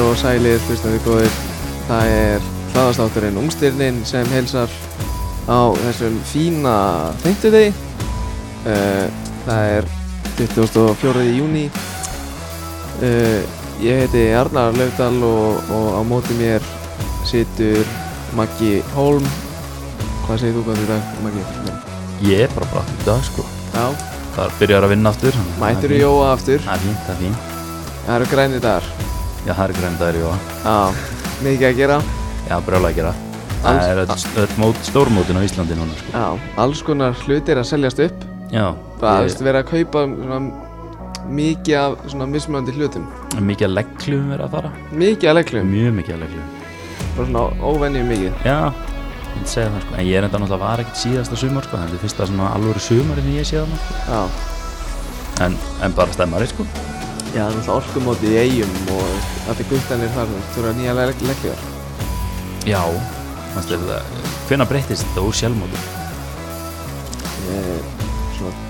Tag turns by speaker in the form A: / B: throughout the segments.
A: og sælir, hlustandi góðir. Það er hlaðastátturinn Ungstyrnin sem heilsar á þessum fína fengtudegi. Uh, það er 24. júni. Uh, ég heiti Arnar Laugdal og, og á móti mér situr Maggi Holm. Hvað segir þú gott í dag, Maggi?
B: Ég er bara brátt í dag sko
A: Já,
B: Það er byrjar að vinna aftur þannig að
A: mætur
B: það
A: í
B: er fínt.
A: Jóa aftur.
B: Það er fínt, það er fínt
A: Það eru grænir dagar.
B: Já, það er græn dagur í Jóa
A: Já, mikið að gera.
B: Já, brjála að gera Það
A: Alls-
B: er öll, öll mót, stórmótin á Íslandi núna sko
A: Já, alls konar hlutir að seljast upp.
B: Já,
A: bara
B: ég,
A: að vera að kaupa svona, mikið af svona mismunandi hlutum
B: mikið að leggljum verið að fara
A: mikið af leglum,
B: Mjög mikið að leggljum
A: bara svona óvenjum mikið
B: Já, ég myndi segja það sko En ég er enda náttúrulega var ekkert síðasta sumar sko Það er fyrsta svona alvöru sumar sem ég sé það
A: já,
B: en, en bara stemmari sko
A: já það er alltaf orkumóti í eigum og allir guttanir þar þú þurfa nýja legljar
B: Já Manstu, það, hvenær breyttist þetta úr sjálfmótum?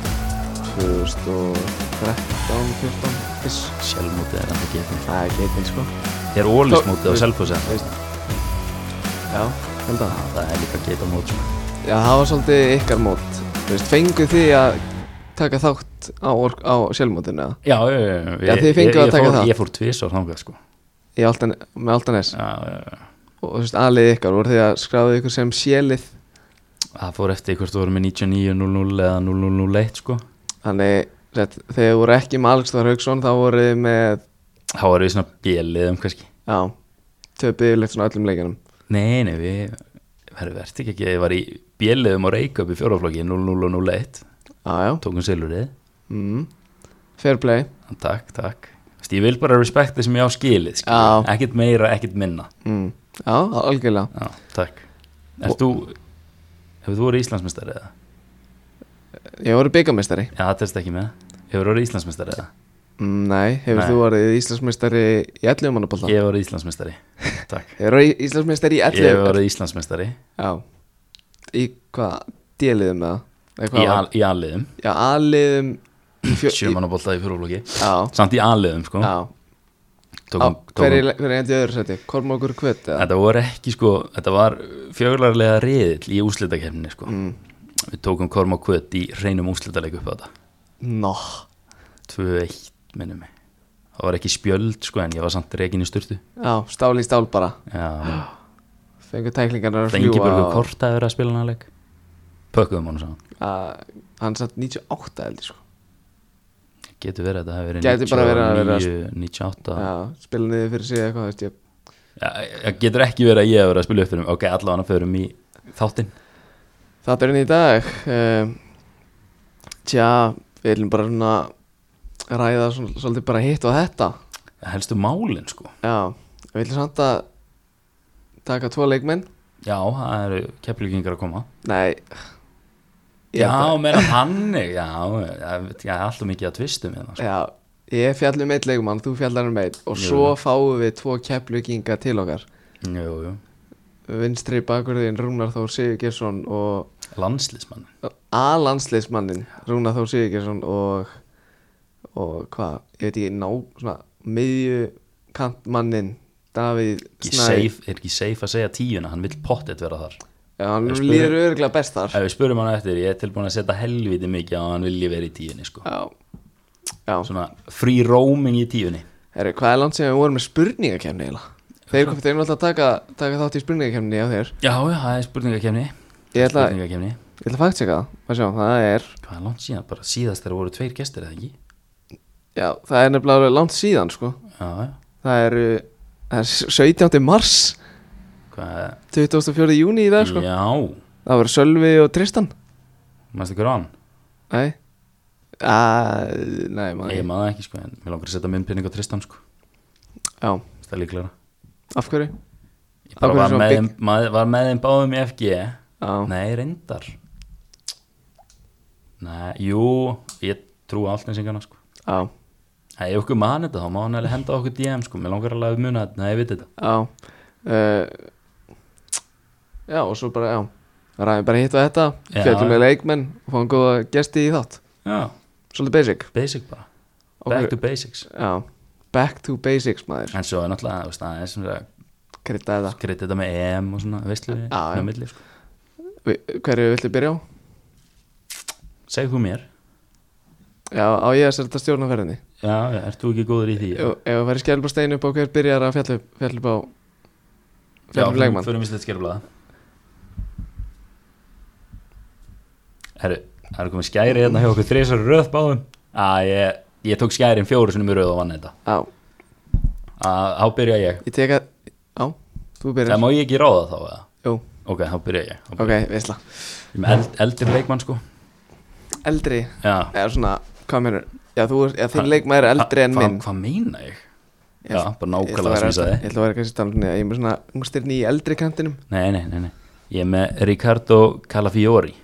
A: svona 2013, 14 ish.
B: Sjálfmótið er enda gefin
A: það er getið sko
B: Er ólismótið á sjálfmótið?
A: Veist. já, held að
B: Það er líka geta mót sko
A: já, það var svolítið ykkar mót Þú veist, fenguð þið að taka þátt á, ork- á sjálfmótinu eða?
B: Já, já, já, já.
A: Já,
B: Ég-
A: þið fenguð
B: ég-
A: að
B: ég
A: taka
B: fór-
A: það.
B: Ég fór tvisvar þangað sko
A: Í Altan, með Altanes
B: já, já, já.
A: og þú veist, aðlið ykkar voru því að skráðu ykkur sem sélið
B: Það fór eftir hvort þú voru með 99.00 eða 00.01 sko
A: þannig sett, þegar þið voru ekki með Aleksdór Hauksson þá voru þið með
B: Þá var við svona bjelið um kannski
A: já, töpið yfirleitt svona öllum leikinum
B: Nei, nei, við verður verðt ekki ekki Ég var í bjelið um að reyka upp í fjóraflokki 00.01
A: já, já,
B: Tókum silfrið
A: mm. fair play
B: Takk, takk Vist, Ég vil bara respekta sem ég á skilið
A: Já.
B: skilið. Ekkert meira, ekkert minna
A: mm. já, algjörlega
B: Já, takk Erst þú, hefur þú voru Íslandsmeistari eða?
A: ég voru byggamistari,
B: Já, það telst ekki með Hefur voru Íslandsmeistari eða?
A: mm, nei, hefur
B: Nei.
A: þú voruð Íslandsmeistari í 11 mannabólta
B: Ég voru Íslandsmeistari Takk
A: hefur þú Íslandsmeistari í
B: Ég
A: 11
B: hef verið Íslandsmeistari
A: já, í hvað deliðum með það
B: í, al, í alliðum,
A: já, aðliðum í fjö- í-
B: sjömanabólta í fjóruflóki
A: já,
B: samt í alliðum sko
A: já, Á,
B: tókum,
A: hver er
B: tókum,
A: hver er endið öðru seti, Kormákur Kvöt eða?
B: þetta voru ekki sko þetta var fjöglarlega riðill í úslitakefninni sko
A: Mm.
B: við tókum korma kvöt í reynum úslitaleik upp á þetta
A: Nó,
B: 2-1 minnum mig það var ekki spjöld sko en ég var samt reikin í sturtu
A: já, stál í stál bara
B: já,
A: Fengur tæklingarnar að
B: það engi
A: fljúa
B: börgu kort að vera að spila hann að leik pökkuðum hann saman
A: að, Hann satt 98 heldur sko
B: getur verið að þetta
A: Gæti
B: hefur
A: bara verið að
B: verið
A: vera-
B: 99, 98
A: Já, spila niður fyrir sig eitthvað þú veist, ég,
B: Já, það getur ekki verið að ég hef verið að spila upp fyrir mig ok, allavega hann fyrir mig þáttinn
A: Það byrjum í dag um, Tja, við viljum bara svona ræða svona, svolítið bara hitt og þetta
B: helstu málin sko
A: Já, við viljum samt að taka tvo leikmenn
B: Já, það eru kepplugingar að koma
A: Nei ég
B: Já,
A: held að-
B: meira þannig Já, það það er alltaf mikið að tvistum hérna, sko.
A: Já, ég fjallum eitt leikmann, þú fjallar um eitt og
B: Jú.
A: svo fáum við tvo kepluginga til okkar
B: Jú, jú,
A: Vinstri bakurðin Rúnar Þór Sigurgesson og
B: landslismann
A: A-landsleismannin Rúna Þór Sigurgesson og og hvað, ég veit ekki ná, svona, miðju kantmannin Davíð
B: Ekki safe, Er ekki safe að segja tíuna, hann vill pottet vera þar
A: Já, hann
B: Ég spurði-
A: líður örgulega best þar
B: Ef við spurum hann eftir, ég er tilbúin að setja helviti mikið á að hann vilji vera í tíunni sko.
A: Já, já
B: Svona free roaming í tíunni
A: Herru, hvað er land sem við vorum með spurningakefni eiginlega? Þeir komið þeir náttúrulega að taka, taka þátt í spurningakefni á þér
B: Já, já, það er spurningakefni
A: Ég ætla,
B: Spurningakefni,
A: ég ætla að fakta eitthvað, maður sjá, það er
B: hvað er langt síðan? Bara síðast þegar voru tveir gestir eða ekki
A: Já, það er nefnilega alveg langt síðan, sko
B: Já, já,
A: Það er, það er 17. mars
B: hvað
A: 24. júni í dag, sko
B: Já,
A: Það voru Sölvi og Tristan
B: mannstu hver á hann?
A: Nei uh, Nei, maður
B: Ég
A: ekki
B: maður ekki sko, en mér langar að setja minn pinning á Tristan sko
A: Já,
B: Það er líklega
A: af hverju?
B: Ég bara
A: Af hverju
B: var
A: svona
B: með,
A: big-
B: þeim, maður, var með þeim báðum í FG
A: Já,
B: Nei, reyndar Nei, jú Ég trú allt eins engan sko
A: já,
B: Nei, ef okkur mann þetta, þá má hann alveg henda okkur DM sko Mér langar alveg að muna þetta, nei, ég veit þetta
A: já uh, Já, og svo bara, já Ræðum bara hitt á þetta
B: Já.
A: Fjöldum með leikmenn og Fáum góða gesti í þátt
B: Já,
A: Svolítið basic
B: basic bara
A: Okkur-
B: Back to basics
A: Já, back to basics maður
B: en svo er náttúrulega þú veist, aðeins sem það
A: Krydda þetta
B: krytta þetta með EM og svona veistlu
A: Já, já.
B: með milli sko.
A: Vi- Hverju viltu byrja á?
B: segð þú mér
A: Já, á ég að setja stjórnaferðinni
B: já, já, ert þú ekki góður í því
A: Ef ef það færi skjálpa stein upp á hver byrjar að fjalla upp- fjalla upp á
B: já,
A: Fjalla upp leikmann
B: fyrir mislið skerflaða herru, það er komið skæri hérna hjá okkur þrísar í röð báðum að ég, ég tók skærin fjóru sinni mjög röð og vann þetta
A: Já,
B: að þá byrja ég
A: ég tek að Já, þú
B: það
A: byrjar
B: má ég ekki ráða þá eða?
A: Jú,
B: ok, þá byrja ég Þá byrja
A: ok, veistla
B: ég. ég er með eld, eldri leikmann sko
A: Eldri,
B: já,
A: eða svona, hvað meinur Já, þú, er- já
B: Ha-
A: þinn leikmaður er eldri en
B: Hva-
A: minn
B: hvað meina ég?
A: Ég- Ég
B: já, bara
A: ætla að
B: nákvæmlega
A: vera-
B: sem ég sagði
A: Ég ætla að vera kannski stafnir Ég er með svona ungstirni í eldri kantinum
B: Nei, nei, nei, nei. Ég er með Ricardo Calafiori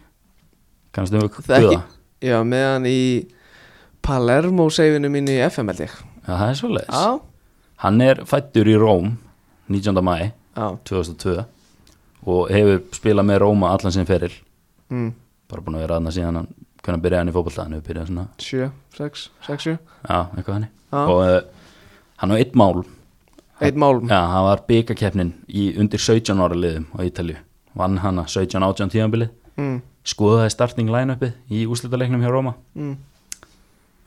B: Kannstu við
A: Það
B: guða?
A: ekki Já, með hann í Palermo seifinu mínu í FM held ég
B: Já, það er svoleiðis
A: Já,
B: Hann er fættur í Róm 19. mæ
A: já,
B: 2002 og hefur spilað með Róma allan sinn feril
A: mm,
B: bara búin að vera aðna síðan hann hvernig byrjaði hann í fótbolta hann hefur byrjað svona,
A: sjö, sex, sex, sjö
B: já, eitthvað hann
A: Já.
B: og uh, hann á eitt mál
A: Eitt málum
B: Já, hann var byggakeppnin í undir 17 ára liðum á Ítalju vann hana 17-18 tíðanbilið
A: mm,
B: skoðaði starting line-upið í úslitaleiknum hjá Róma
A: mm,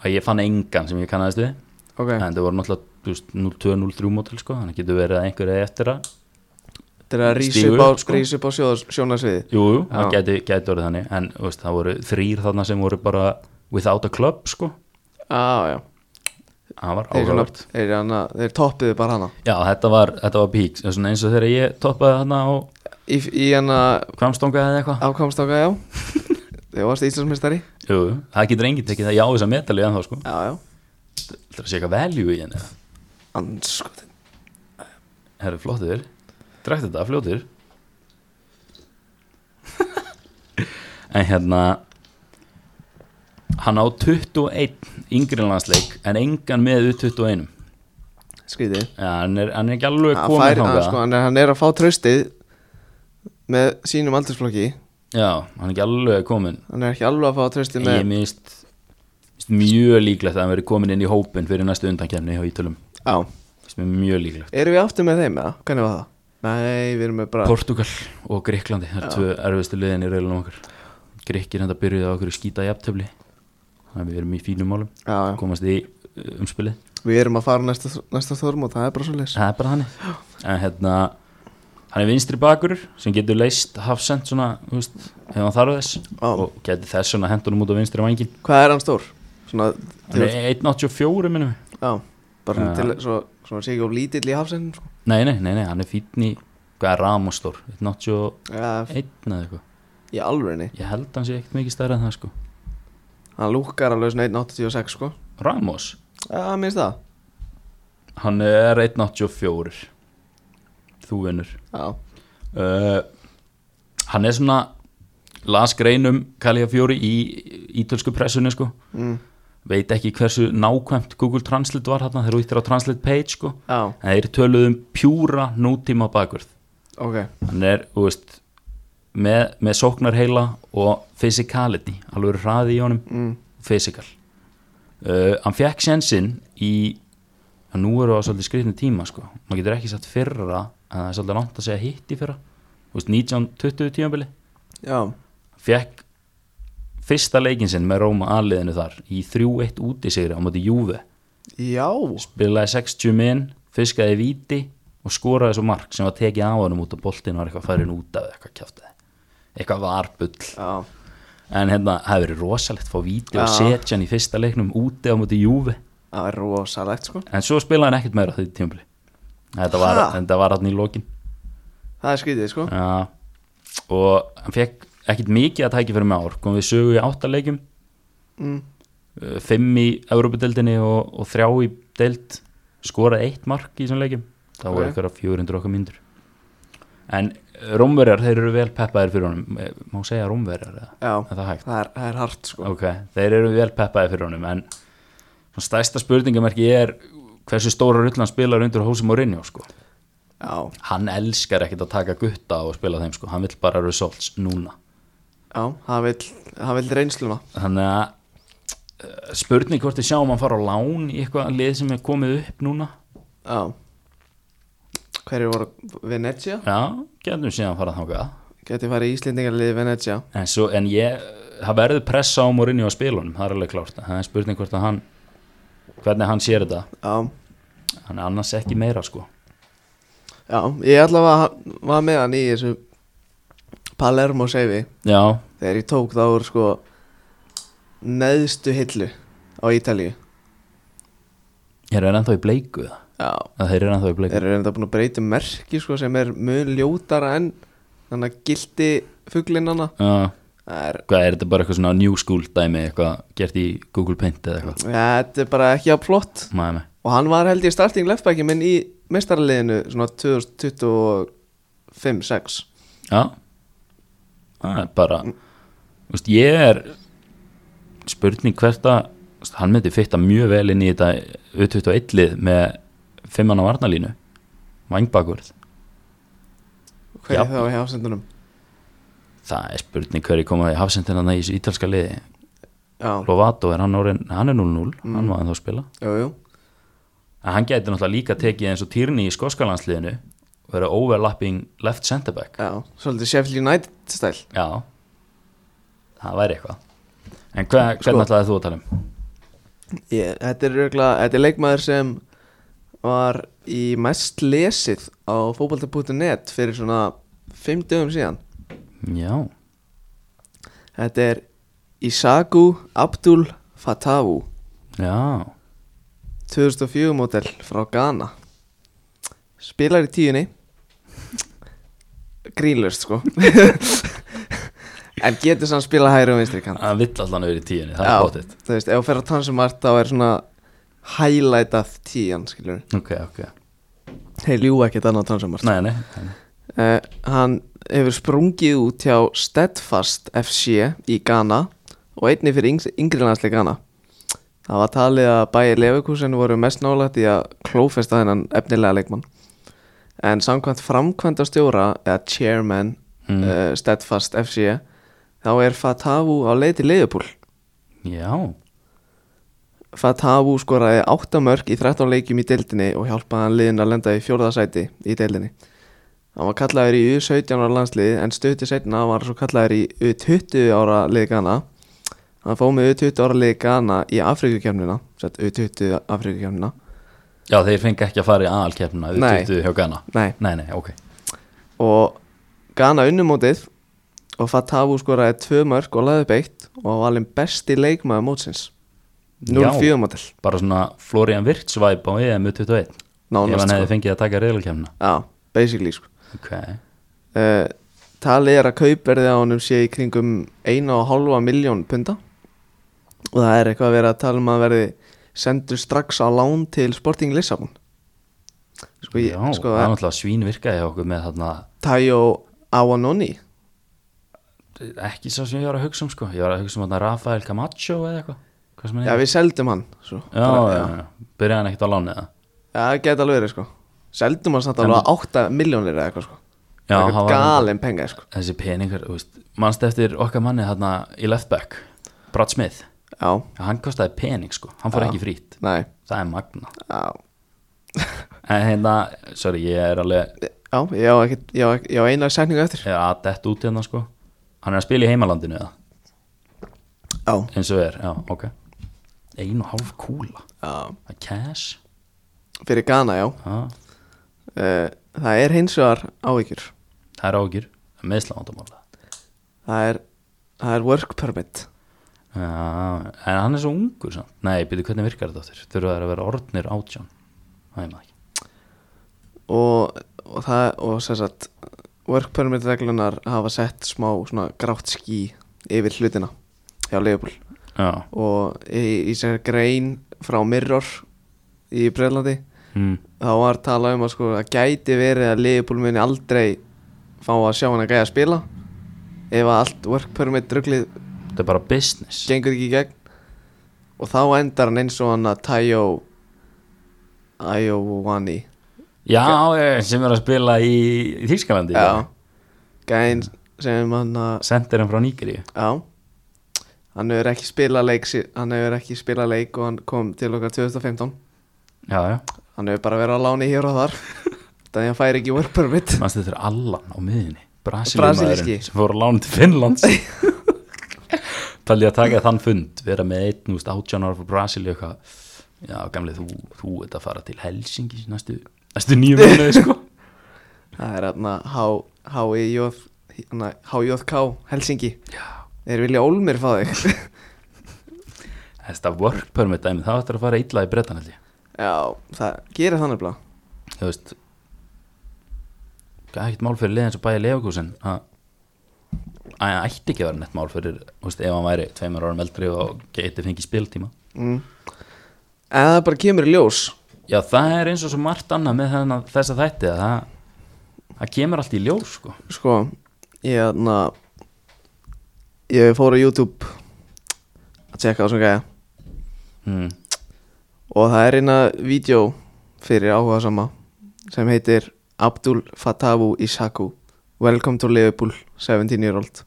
B: að ég fann engan sem ég kannaðist við
A: Ok,
B: en það voru náttúrulega þú veist, 02-03 mótil sko, þannig getur verið að einhverja eftir að
A: þetta er að rísa
B: stígur
A: upp á,
B: upp, sko.
A: rísa upp á sjóðas, sjónasviði
B: jú, jú, það
A: Já.
B: gæti, gæti orðið þannig en þú veist, það voru þrýr þarna sem voru bara without a club sko
A: Já, já
B: það
A: Þeir,
B: var
A: svona,
B: áhugavert
A: þeir, hana, þeir toppuðu bara hana
B: já, þetta var, þetta var pík svona eins og þegar ég toppaði þarna á
A: Í, í hana
B: kvamstonga eða eitthvað
A: afkomstáka, já Þeir varst Íslandsmeistari
B: jú, jú, það getur enginn tekið það já þess að metali en þá sko
A: Já, já
B: það er að sé eitthvað value í henni eða?
A: Anskotin
B: herru, flottur, drækt þetta, fljótur en hérna hann á 21 yngri landsleik en engan með U21
A: Skrítið
B: ja, hann, er, hann er ekki alveg
A: Hann
B: komin
A: fær-
B: þangað
A: hann, sko, hann, er, hann er að fá traustið með sínum aldursflokki
B: já, hann er ekki alveg komin
A: hann er ekki alveg að fá traustið
B: ég
A: með
B: minnst minnst mjög líklegt að hann veri komin inn í hópin fyrir næstu undankefni hjá Ítölum
A: á,
B: Finnst mér mjög líklegt
A: erum við aftur með þeim eða? hvernig var það? nei, við erum með bara
B: Portugal og Gríklandi það er tvö erfiðstu liðin í reilunum okkar Gríkir enda byrjuði á okkur skýta jafntöfli þannig að við erum í fínum málum
A: já, já.
B: komast í uh, umspilið
A: við erum að fara næsta, næsta þorm og það er bara svo leys
B: það er bara þannig en hérna hann er vinstri bakur sem getur leist hafsend svona þú veist, ef hann þarf þess
A: Já.
B: og getur þess svona hendunum út á vinstri vangin
A: hvað er hann stór? svona,
B: hann
A: til,
B: er 1.84 minnum við.
A: já, bara svona
B: Já.
A: til svo, svona sé ekki of lítill í hafsinn sko.
B: nei nei nei, nei hann er fínn í hvað er Ramostor 1.81
A: já,
B: eða eitthvað
A: í alvörinni
B: ég held hann sé ekkert mikið stærra en það sko
A: hann lúkkar alveg svona 1.86 sko
B: Ramos
A: já, minnst það
B: hann er 1.84 þú vinnur
A: já,
B: uh, hann er svona las greinum Kalja Fjóri í ítölsku pressunni sko
A: mm.
B: veit ekki hversu nákvæmt Google Translate var þarna þegar þú íttir á Translate page sko
A: já,
B: en þeir töluðum pjúra nútíma bakvörð
A: ok
B: hann er, þú veist með, með sóknarheila og physicality, alveg hraði í honum
A: mm.
B: physical uh, hann fekk sensin í að nú eru það svolítið skrifni tíma sko. maður getur ekki satt fyrra en það er svolítið langt að segja hitt í fyrra Þú veist, 19-20 tímabili
A: já,
B: fekk fyrsta leikin sinn með Róma aðliðinu þar í 3-1 útisigri á móti Júve
A: já
B: spilaði 60 minn, fiskaði víti og skoraði svo mark sem var tekið af honum út af boltinu var eitthvað farin út af eða eitthvað kjáftið eitthvað varbull
A: já,
B: en hérna, það hefur verið rosalegt fá víti og
A: Já.
B: setja hann í fyrsta leiknum úti á móti Júve
A: það er rosalegt sko
B: en svo spilaði hann ekkert meira á því tímabili þetta var,
A: Ha?
B: þetta var hann í lokin
A: það er skrítið sko
B: ja, og hann fekk ekkert mikið að tækja fyrir með ár kom við sögu í áttalegjum
A: mm.
B: uh, fimm í Európa-deildinni og, og þrjá í deild skoraði eitt mark í þessum leikjum það voru
A: Ok.
B: eitthvað 400 okkar myndur en Rómverjar, þeir eru vel peppaðir fyrir honum Eh, má segja Rómverjar eða
A: já,
B: er það hægt?
A: það er, það er hart sko
B: Ok, þeir eru vel peppaði fyrir honum en svona stærsta spurningamerki er hversu stóra rullan spilar undir hósum og Rinjó sko
A: já,
B: hann elskar ekkert að taka gutta og spila þeim sko, hann vill bara results núna
A: já, hann vill, hann vill reynsluna
B: þannig að eh, spurning hvort við sjáum hann fara á lán í eitthvað lið sem er komið upp núna
A: Já Hverju voru Venezia?
B: já, getum síðan farað þangað
A: Geti farið í Íslendingarlið Venezia
B: en, svo, en ég, það verður pressa á Mourinho að spilunum, það er alveg klárt það er spurning hvort að hann hvernig hann sér þetta,
A: Já,
B: hann er annars ekki meira sko
A: já Ég allavega var með hann í þessu Palermo seifi
B: já,
A: Þegar ég tók þá úr sko Neðstu hillu Á Ítalíu
B: ég er ennþá í bleiku það
A: Já
B: að þeir eru ennþá í
A: Þeir
B: bleiku
A: eru reynda búin að breyta um merki sko Sem er mun ljótara en Þannig að gildi fuglinnana
B: já,
A: Það er
B: hvað er þetta bara eitthvað svona new school dæmi eitthvað gert í Google Paint eða eitthvað
A: Ja, Þetta er bara ekki á plott
B: Nei, nei.
A: Og hann var held ég starting leftbacki minn í mestaraliðinu svona 2025-6
B: Já Það er bara Vist, Ég er spurning hvert að þú veist, hann myndi fitta mjög vel inn í þetta U21 lið með fimmann á varnalínu Vangbakurð
A: Hver
B: Já.
A: er það á hafsendunum?
B: Það er spurning hverju koma í hafsendina í þessu ítalska liði
A: Já,
B: Lovato er hann orðin, hann er 0-0 hann var ennþá að spila
A: jú, jú
B: en hann gæti náttúrulega líka tekið eins og Tyrni í skoskalandsliðinu og vera overlapping left center back
A: Já, svolítið Sheffield United stæl
B: Já Það væri eitthvað En hva,
A: Sko-
B: hvernig ætlaði þú að tala um?
A: ég, þetta, er rögla, þetta er leikmaður sem var í mest lesið á fótbolta.net fyrir svona 5 dögum síðan
B: Já,
A: Þetta er Isaku Abdul Fatawu
B: já
A: 2004 mótel frá Ghana Spilar í tíunni Grínlust sko En getur sann spila hægri og vinstri kant
B: Það vill allan yfir í tíunni, það
A: Já,
B: er bóttið
A: Þú veist, ef þú fer á tansumart þá er svona highlightað tíjan skilur
B: Ok, ok
A: Hei, ljú ekkert annað tansumart
B: Nei, nei, nei.
A: uh, Hann hefur sprungið út hjá Steadfast FC í Ghana og einni fyrir yng yngri landsli Ghana Það var talið að bæja Leverkusen voru mest nálægt í að klófesta þennan efnilega leikmann en samkvæmt framkvæmda stjóra eða chairman mm.
B: Mm.
A: Steadfast FC þá er Fatavu á leið til leiðupúl
B: Já,
A: Fatavu skoraði 8 mörg í 13 leikjum í deildinni og hjálpaði hann liðin að lenda í fjórðasæti í deildinni. Hann var kallaður í U17 ára landsliði en stötti setna var hann svo kallaður í U20 ára liði Ghana. Hann fóð með U20 ára liði Ghana í Afrikukjöfnina, sett U20 Afrikukjöfnina.
B: já þeir fengi ekki að fara í aðalkeppnuna Við
A: Nei.
B: tuttu hjá Ghana
A: Nei,
B: Nei, nei, ok
A: og Ghana unnumótið og Fatavu skoraði 2 mörg og laði upp eitt og var valinn besti leikmaður mótsins.
B: Já.
A: 0-4 mótil,
B: Bara svona Florian Virtsvæp á EM21 Ef
A: nánast.
B: hann hefði
A: sko.
B: fengið að taka reyðalkeppnuna
A: Já, basically sko.
B: Ok,
A: Uh, talið er að kaupverði á honum sé í kringum 1,5 miljón punda og það er eitthvað að vera að tala um að verði sendur strax á lán til Sporting Lissabon sko,
B: já,
A: ég, sko
B: það er
A: að
B: náttúrulega svín virkaði hjá okkur með þarna
A: Tayo Awanoni
B: Ekki svo sem ég var að hugsa um sko Ég var að hugsa um þarna Rafael Camacho eða eitthvað Hvað sem hann
A: já við seldum hann svo,
B: Já, já, já, byrjaði hann ekkert á láni eða
A: já það geta alveg verið sko seldum hann samt alveg 8 miljónir eða eitthvað sko
B: Já,
A: Eitthvað
B: hann var-
A: galin penga sko
B: Þessi peningur, þú veist, mannst eftir okkar manni hérna í left back Brad Smith,
A: já,
B: hann kostaði pening sko hann fór ekki frýtt,
A: nei,
B: það er magna
A: já
B: En hérna, sorry, ég er alveg
A: já, ég á, ekkit, ég á, ek- ég á eina setningu eftir
B: ég er að dett út hérna sko Hann er að spila í heimalandinu eða,
A: já,
B: eins og er, já, ok Ein og hálf kúla,
A: já,
B: það er cash
A: fyrir Ghana já
B: ha,
A: Eh, Það er hins vegar áhyggjur
B: Það er ágjur, meðslávandamála
A: Það er, það er work permit
B: Já, en hann er svo ungur samt Nei, byrju, hvernig virkar þetta áttur? Þurfa það að vera orðnir átján Það er maður ekki
A: og, og það og sem sagt work permit reglunar hafa sett smá svona grátt ský yfir hlutina hjá Leopold
B: Já,
A: og í, í sér grein frá Mirror í Breðlandi
B: mm.
A: þá var talað um að sko að gæti verið að Leopold muni aldrei fá að sjá hann að gæja að spila ef að allt work permit ruglið
B: þetta er bara business
A: gengur ekki í gegn og þá endar hann eins og hann að Tayo Ayowani
B: Já, eh, sem er að spila í, í Þýskalandi
A: já gæðin sem hann að
B: Senderinn frá Nígri
A: já hann hefur ekki spilað leik sí- hann hefur ekki spilað leik og hann kom til okkar 2015
B: já, já,
A: hann hefur bara verið á láni hér og þar þannig að hann fær ekki work permit
B: mannstu þetta er Allan á miðinni
A: Brasilíski.
B: Brasilímaðurinn sem fór að lána til Finnlands Talið að taka þann fund vera með einn úst átjánar frá Brasilíu eitthvað Já, gamli, þú, þú ert að fara til Helsingi næstu, næstu nýju minni sko.
A: það er hann að HJF hérna, HJK Helsingi
B: Já.
A: þeir vilja ólmir fá þig
B: Þetta work permit dæmi, það ættir að fara illa í brettan held ég
A: já, það gerir þannig blá
B: þú veist það er ekkert mál fyrir liðin sem bæja Leofkúsin að að hann ætti ekki að vera neitt mál fyrir þú veist, ef hann væri tveimur árum eldri og geti fengið spiltíma
A: mm. en það bara kemur í ljós
B: já það er eins og svo margt annað með þennan, þessa þætti að það, það kemur allt í ljós sko
A: sko, ég hérna ég fór á YouTube að tjekka á sem gæja
B: mm.
A: og það er eina vídeo fyrir áhuga sama sem heitir Abdul Fatavu Isaku Welcome to Liverpool 17 year old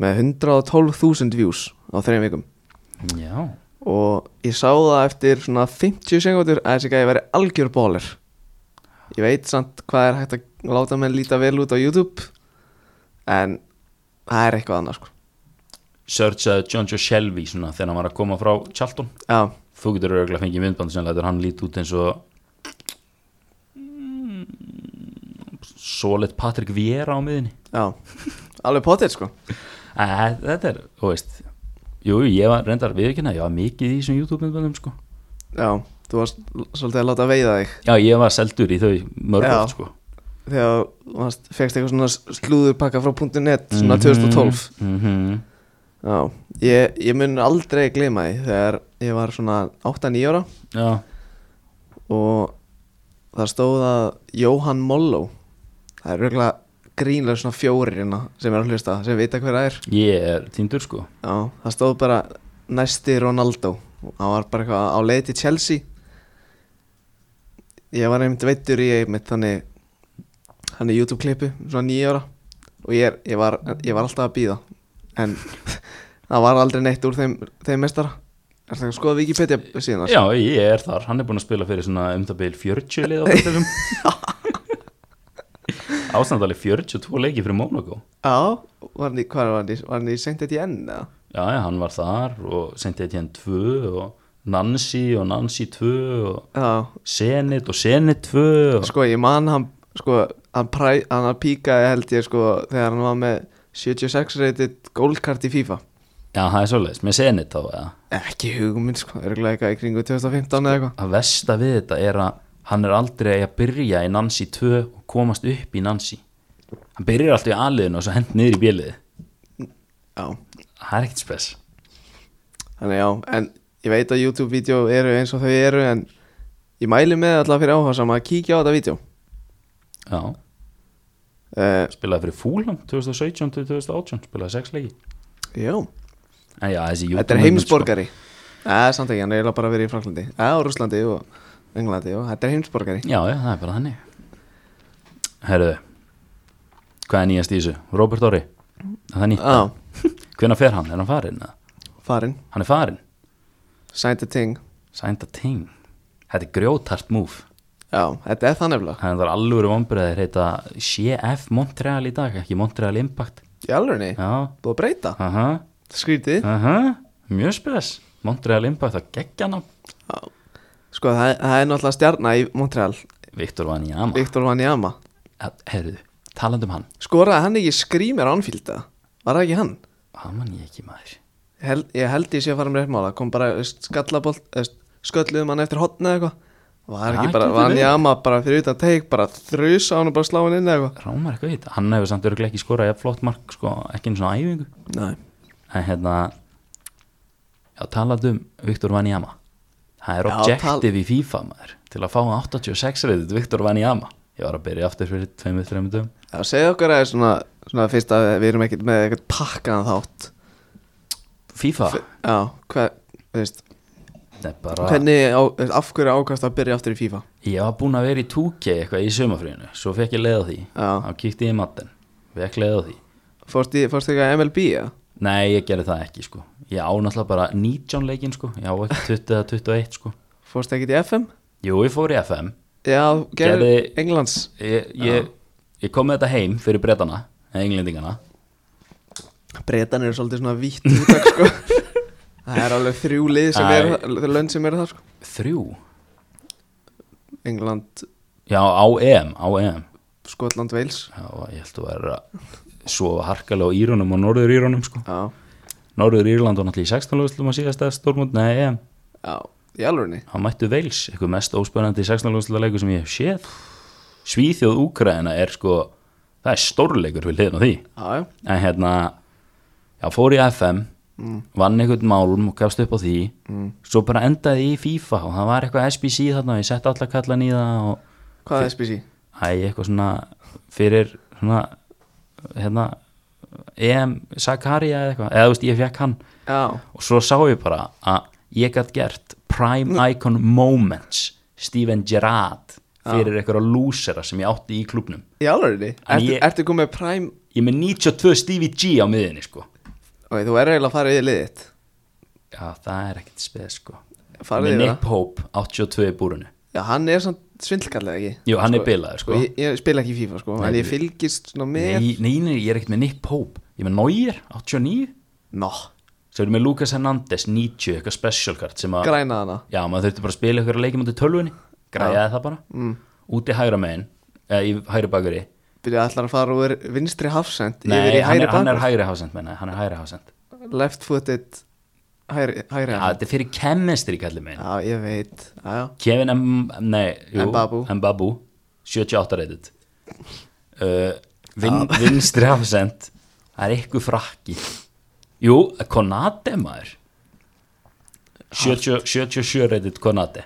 A: með 112.000 views á þreim vikum
B: já,
A: og ég sá það eftir svona 50 sekundur að þessi gæði veri algjör bólir ég veit samt hvað er hægt að láta menn líta vel út á YouTube en það er eitthvað annars sko
B: searchaði eh, John Joe Shelby svona þegar hann var að koma frá Charlton
A: já,
B: þú getur örgulega að fengið myndband sem lætur hann lít út eins og Solit Patrick Viera á miðinni
A: já, alveg potið sko
B: Æ, þetta er, þú veist Jú, ég var reyndar viðkynna, ég var mikið í þessum YouTube-myndböndum sko.
A: já, þú varst l- svolítið að láta veiða þig
B: Já, ég var seldur í þau
A: Já.
B: mörgótt sko.
A: þegar þú varst, fegst eitthvað svona slúðurpakka frá .net svona
B: Mhm,
A: 2012
B: mhm.
A: já, ég, ég mun aldrei gleyma því þegar ég var svona 8-9 ára
B: Já,
A: og það stóð að Jóhann Molló það er röglega grínlega svona fjórir hérna sem er að hlusta, sem vita hver það er
B: ég er týndur sko.
A: Já, það stóð bara næsti Ronaldo og hann var bara eitthvað á leið til Chelsea ég var einmitt veittur í einmitt þannig hann er YouTube klippu, svona nýja ára og ég, er, ég, var, ég var alltaf að býða en það var aldrei neitt úr þeim, þeim mestara Er það að skoða Wikipedia síðan?
B: Já, ég er þar, hann er búin að spila fyrir svona um það byrjul 40 lið á fyrirtum Ástandalið 42 leiki fyrir Mónakó
A: Já, var hann í, hvað var hann í, var hann í Saint Etienne eða?
B: Já, já, hann var þar og sendið þetta hann 2 og Nancy og Nancy 2 og
A: Já,
B: Senit og Senit 2 og...
A: sko ég man hann, sko, hann, præ, hann píkaði held ég sko þegar hann var með 76 reytið goldkart í FIFA
B: Já, það er svoleiðis, með Senit þá eða
A: Ef ekki huguminn sko, örgulega eitthvað í kringu 2015 eða eitthvað
B: að versta við þetta er að hann er aldrei að byrja í Nancy 2 og komast upp í Nancy hann byrjar alltaf í aðliðinu og svo hend niður í bjöliði
A: Já,
B: það er ekkert spes
A: þannig já, en ég veit að YouTube-vídeó eru eins og þau eru en ég mæli með alltaf fyrir áhuga saman að kíkja á þetta vídeó
B: já,
A: uh,
B: spilaði fyrir Fúlam 2017 til 2018, spilaði sex leiki
A: Já,
B: en já, þessi
A: þetta er
B: YouTube-
A: heimsborgari Eða, samt ekki, hann er eiginlega bara verið í Franklandi Eða, og Rúslandi og Englandi og þetta er heimsborgari
B: sko. já, já, það er bara þannig herruðu hvað er nýjast í þessu? Robert Orri það er nýtt,
A: Já,
B: hvenær fer hann? er hann farinn? eða?
A: farinn
B: hann er farinn,
A: Signed a Ting
B: sænda ting þetta er grjótart move
A: Já, þetta er það nefnilega
B: Þannig að það er alvöru vonbreðir heita CF Montreal í dag, ekki Montreal Impact.
A: Í alvegni,
B: Já,
A: búið að breyta
B: aha,
A: Skrítið
B: aha, mjög spes. Montreal Impact, það geggja hann á.
A: Já. Sko, það, það er náttúrulega stjarna í Montreal
B: Viktor Vanjama,
A: Viktor Wanyama
B: herruðu, talandi um hann,
A: Skoraði hann ekki skrýmir ánfílda? Var það ekki hann?
B: það man ég ekki maður.
A: Ég Held, ég held ég sé að fara með réttmála Kom bara þú veist, skallabolt þú veist, Skölluðum hann eftir hotna eða eitthvað Var
B: Það
A: ekki bara
B: getur verið.
A: Wanyama bara fyrir utan teik Bara þrusa hann og bara slá hann inn eða
B: Rámar eitthvað í þetta, hann hefur samt örglega ekki skorað jafn flott mark, sko, ekki einu svona æfingu.
A: eitthvað Nei
B: En hérna, já, talandi um Viktor Vanjama, það er
A: Já,
B: objective í FIFA maður, til að fá 86 reyðið Viktor Vanjama. Ég var að byrja aftur fyrir 2-3 dögum.
A: Já, segðu okkur að svona, svona fyrst að við erum ekkert með eitthvað pakkaðan þátt
B: FIFA,
A: Já, hvað, þú veist
B: þetta er bara...
A: Hvernig, á, af hverju ákast að byrja aftur í FIFA?
B: Ég var búinn að vera í 2K eitthvað í sömafríðinu Svo fekk ég leið á því
A: Já.
B: Þá kíkti ég í matten Fekk leið á því
A: Fórst í- fórstu eitthvað MLB, já?
B: Nei, ég gerði það ekki sko Ég á náttúrulega bara 19 leikinn sko Ég á ekki 20 eða 21 sko
A: Fórst ekkert í FM?
B: Jú, ég fór í FM
A: Já, þú gerðir
B: Gerði-
A: Englands
B: Ég, ég, ég kom með þetta heim fyrir bretana eða englendingana
A: Bretan eru svolítið svona vítt útak sko Það er alveg þrjú lið sem
B: Æ.
A: eru Lönd sem eru það sko
B: Þrjú?
A: England,
B: Já, á EM, á EM
A: Skotland, Wales
B: Já, ég held að vera að sofa harkalega á Írunum og Norður Írunum sko
A: Já,
B: Norður Írland var náttúrulega í 16 lögslum að síðasta stórmund Nei, EM
A: já, í alvörunni
B: Hann mættu Veils, eitthvað mest óspennandi 16 lögslega leikur sem ég hef séð Svíþjóð Úkraina er sko Það er stórleikur við hliðin á því
A: Já, já,
B: en hérna já, fór í FM vann einhvern málum og gafst upp á því svo bara endaði í FIFA og það var eitthvað SBC þarna og ég sett alla kallan í það og
A: hvað er SBC?
B: æ, eitthvað svona fyrir svona hérna EM Sakaria eða eitthvað eða þú veist, ég fekk hann
A: Já,
B: og svo sá ég bara að ég gætt gert Prime Icon Moments Steven Gerrard fyrir einhverja lúsera sem ég átti í klubnum
A: í alvörunni
B: En
A: Ertu,
B: ég-
A: ertu komið prime
B: ég er með 92 Stevie G á miðinni sko
A: Ok, þú er eiginlega að fara í liðitt
B: Já, það er ekkert speð sko
A: Farið
B: Með
A: yfir
B: Nick Pope, 82 í búrunu
A: Já, hann er svona svindlkallega ekki
B: Jú, hann er bilaður sko
A: Og ég, ég spila ekki í FIFA sko En
B: Nei,
A: ég
B: við-
A: fylgist svona með
B: nei, nei, nei, ég er ekkert með Nick Pope Ég er með Neuer, 89
A: Nó,
B: Svo erum við Lucas Hernandez, 90, eitthvað special card sem að,
A: græna hana
B: já, maður þurfti bara að spila eitthvað leikjum átti tölvunni, græjaði það bara mm. Úti hægra megin, eða í hægri bakari
A: Byrja allar að fara úr vinstri hafsend
B: Nei,
A: Yfir í
B: hann
A: hæri
B: er, hann er
A: bak
B: hægri hásend, menna, hann er hægri hásend
A: Left footed Hæri, hæri
B: Já,
A: hafsend
B: þetta er fyrir chemistry kallið megin
A: Já, ég veit Já, já
B: Kevin M... Nei, jú,
A: Mbabu.
B: Mbabu 78 reytið uh, vin, Vinstri hafsend Það er eitthvað frakki Jú, Konate maður 70 77 reytið Konate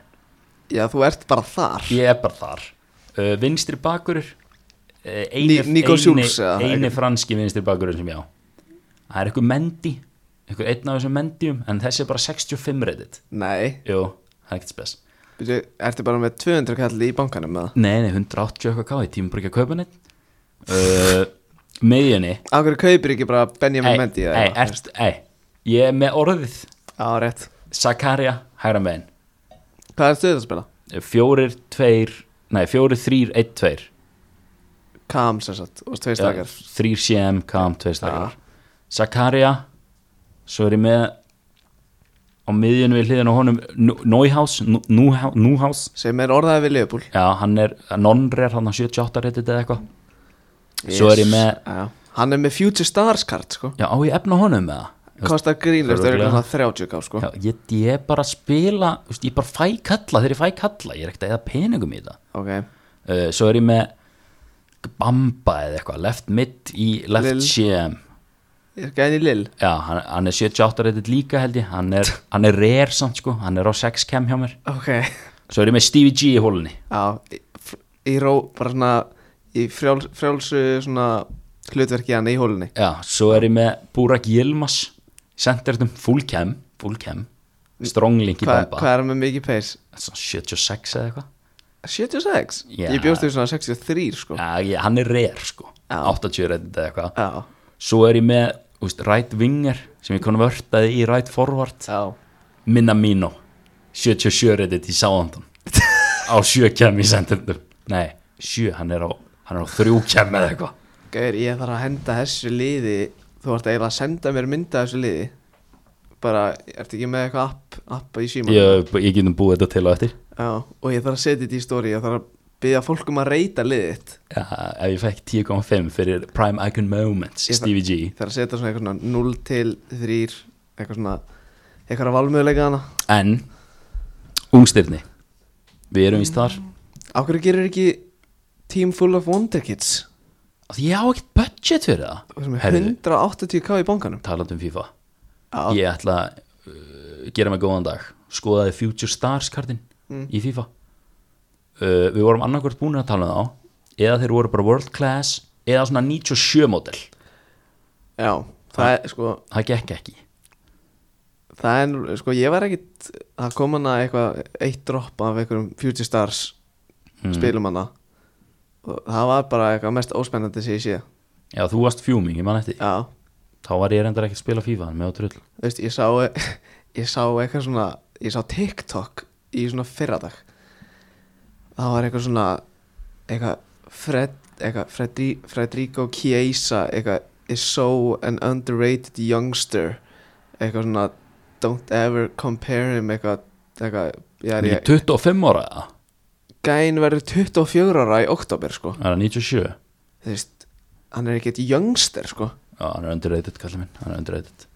A: Já, þú ert bara þar
B: Ég er bara þar uh, Vinstri bakurur uh,
A: Ni- Nico Schulz, eða
B: eini, eini
A: eitthvað.
B: franski vinstri bakurur sem ég á Það er eitthvað Mendy Eitthvað einn af þessum Mendyum En þessi er bara 65 reytið
A: Nei,
B: Jú, það er ekkert spes
A: byrju, ertu bara með 200 kalli í bankanum með það
B: Nei, nei, 180 eitthvað káði, tímum bara ekki að kaupa neitt uh, Miðjunni
A: Af hverju kaupir ekki bara Benjamin Mendy eða
B: ei,
A: eitthvað?
B: erst, ei Ég er með orðið
A: Já, rétt
B: Sakaria, hægra megin
A: Hvað er stöðið að spila?
B: Fjórir, tveir, nei, fjórir, þrýr, einn, tveir
A: Kam, sem sagt, og tveir
B: Ja,
A: stakar
B: Þrýr CM, kam, tveir stakar Sakaria Svo er ég með Á miðjunni við hliðin á honum Núhás, Núhás
A: sem er orðaðið við Leopold
B: Já, hann er nonrer, hann er 78 reytið eða eitthvað Svo er ég með-
A: já. Hann er með Future Stars kart sko
B: Já, á ég efna honum með það
A: Kostar grínlust, það er
B: Örugglega.
A: eitthvað 30 ká sko
B: Já, ég, ég er bara að spila veist, ég bara fæ kalla þegar ég fæ kalla ég er ekkert að eða peningum í það
A: Ok,
B: uh, svo er ég með Bamba eða eitthvað, left mid í left
A: Lil.
B: CM
A: er ekki enn í Lill
B: já, hann, hann er 78 reytið líka held ég hann er, hann er rare samt sko, hann er á 6 cam hjá mér
A: Ok,
B: svo er ég með Stevie G í hólunni
A: já, í, í ró, bara svona í frjáls, frjálsu svona hlutverki hann í hólunni
B: já, svo er ég með Burak Yilmaz sendertum full cam, full cam stronglink í
A: Hva, Hvað
B: Bamba
A: er hann með mikið pace?
B: Svona 76 eða eitthvað
A: 76?
B: Já.
A: Ég bjóst þau svona 63 sko
B: já, ég, hann er rare sko 80 reytið eða eitthvað
A: Já,
B: Svo er ég með þú veist, right winger sem ég konvertaði í right forward
A: já
B: Minamino 77 reddit í Southampton á 7 kem í sendendum Nei, 7, hann er á, hann er á 3 kem eða eitthvað
A: Gauður, ég þarf að henda þessu liði Þú ert eiginlega að senda mér mynda þessu liði Bara, ertu ekki með eitthvað app, app í síma?
B: ég, ég getum búið þetta til og eftir
A: Já, og ég þarf að setja þetta í stóri Ég þarf að byggja fólk um að reyta liðitt
B: ja, Ef ég fekk 10.5 fyrir Prime Icon Moments,
A: Ég-
B: Stevie G
A: Ég þarf að setja svona eitthvað svona 0 til 3 Eitthvað svona Eitthvað að valmöðuleika hana
B: En, ungstirni Við erum í þar
A: Á hverju gerir ekki Team Full of Wonder Kids
B: Af því Ég á ekkert budget fyrir
A: Það sem
B: það
A: er 180k í bankanum
B: talandi um FIFA
A: Já.
B: ég ætla að uh, gera mig góðan dag skoðaði Future Stars kartin
A: Mm.
B: í FIFA uh, við vorum annarkvort búin að tala um þá eða þeir voru bara World Class eða svona 97 model
A: Já, það er sko
B: það gekk ekki
A: Það er, nú- sko, ég var ekkit Það kom hana eitthvað, eitt drop af einhverjum Future Stars
B: Mhm. Mm.
A: spilum hana og það var bara eitthvað mest óspennandi sem ég sé
B: já þú varst fjúming, ég man eftir
A: Já,
B: þá var ég reyndar ekki að spila FIFA en með á trull
A: Þú veist, ég sá, e- ég sá eitthvað svona, ég sá TikTok í svona fyrradag. Það var eitthvað svona, eitthvað, Fred, eitthvað, Fredri, Fredrico Chiesa, eitthvað, is so an underrated youngster, eitthvað svona, don't ever compare him, eitthvað, eitthvað, já,
B: er
A: ég,
B: 25 ára eða?
A: gæn verður 24 ára í oktober, sko.
B: er hann 97 já,
A: Þú veist, hann er ekkert youngster, sko.
B: hann er underrated kallið minn hann er underrated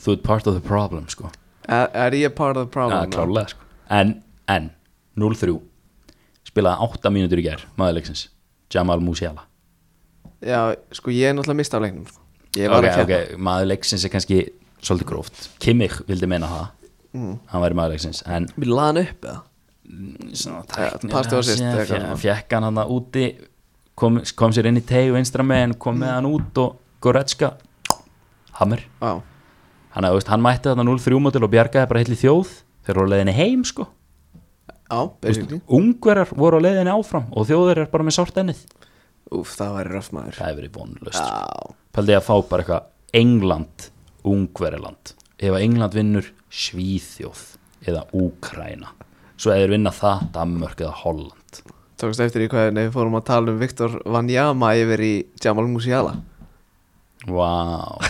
B: þú ert part of the problem sko
A: Er, er ég part of the
B: Já,
A: problem? now?
B: klálega sko En, en, 0-3 Spilaði 8 mínútur í gær, maðurleiksins Jamal Musiala
A: Já, sko, ég er náttúrulega mist af leiknum, sko. Ég var að keppa.
B: okay. Maðurleiksins er kannski svolítið gróft Kimmich vildi meina það
A: Mm.
B: Hann væri maðurleiksins En
A: Við laðan upp eða? Ja, pass og assist, eitthvað svona.
B: Fjekk hann hann úti kom, kom sér inn í teg og einstra megin Kom
A: Mm.
B: með hann út og Goretzka Hammer
A: Já,
B: Hann, þú veist, hann mætti þarna 0-3 mótil og bjargaði bara heil í þjóð Þeir eru á leiðinni heim sko
A: já, basically.
B: Ungverjar voru á leiðinni áfram Og þjóður er bara með sárt ennið
A: Úf, það væri röf maður.
B: Það hefur verið vonlust ja.
A: Já,
B: Paldið að fá bara eitthvað England, Ungveriland Ef að England vinnur Svíþjóð eða Úkraina Svo eða þeir vinna það, Danmörk eða Holland
A: tókst eftir í hvað við fórum að tala um Viktor Vanjama yfir í Jamal Musiala.
B: Vá wow.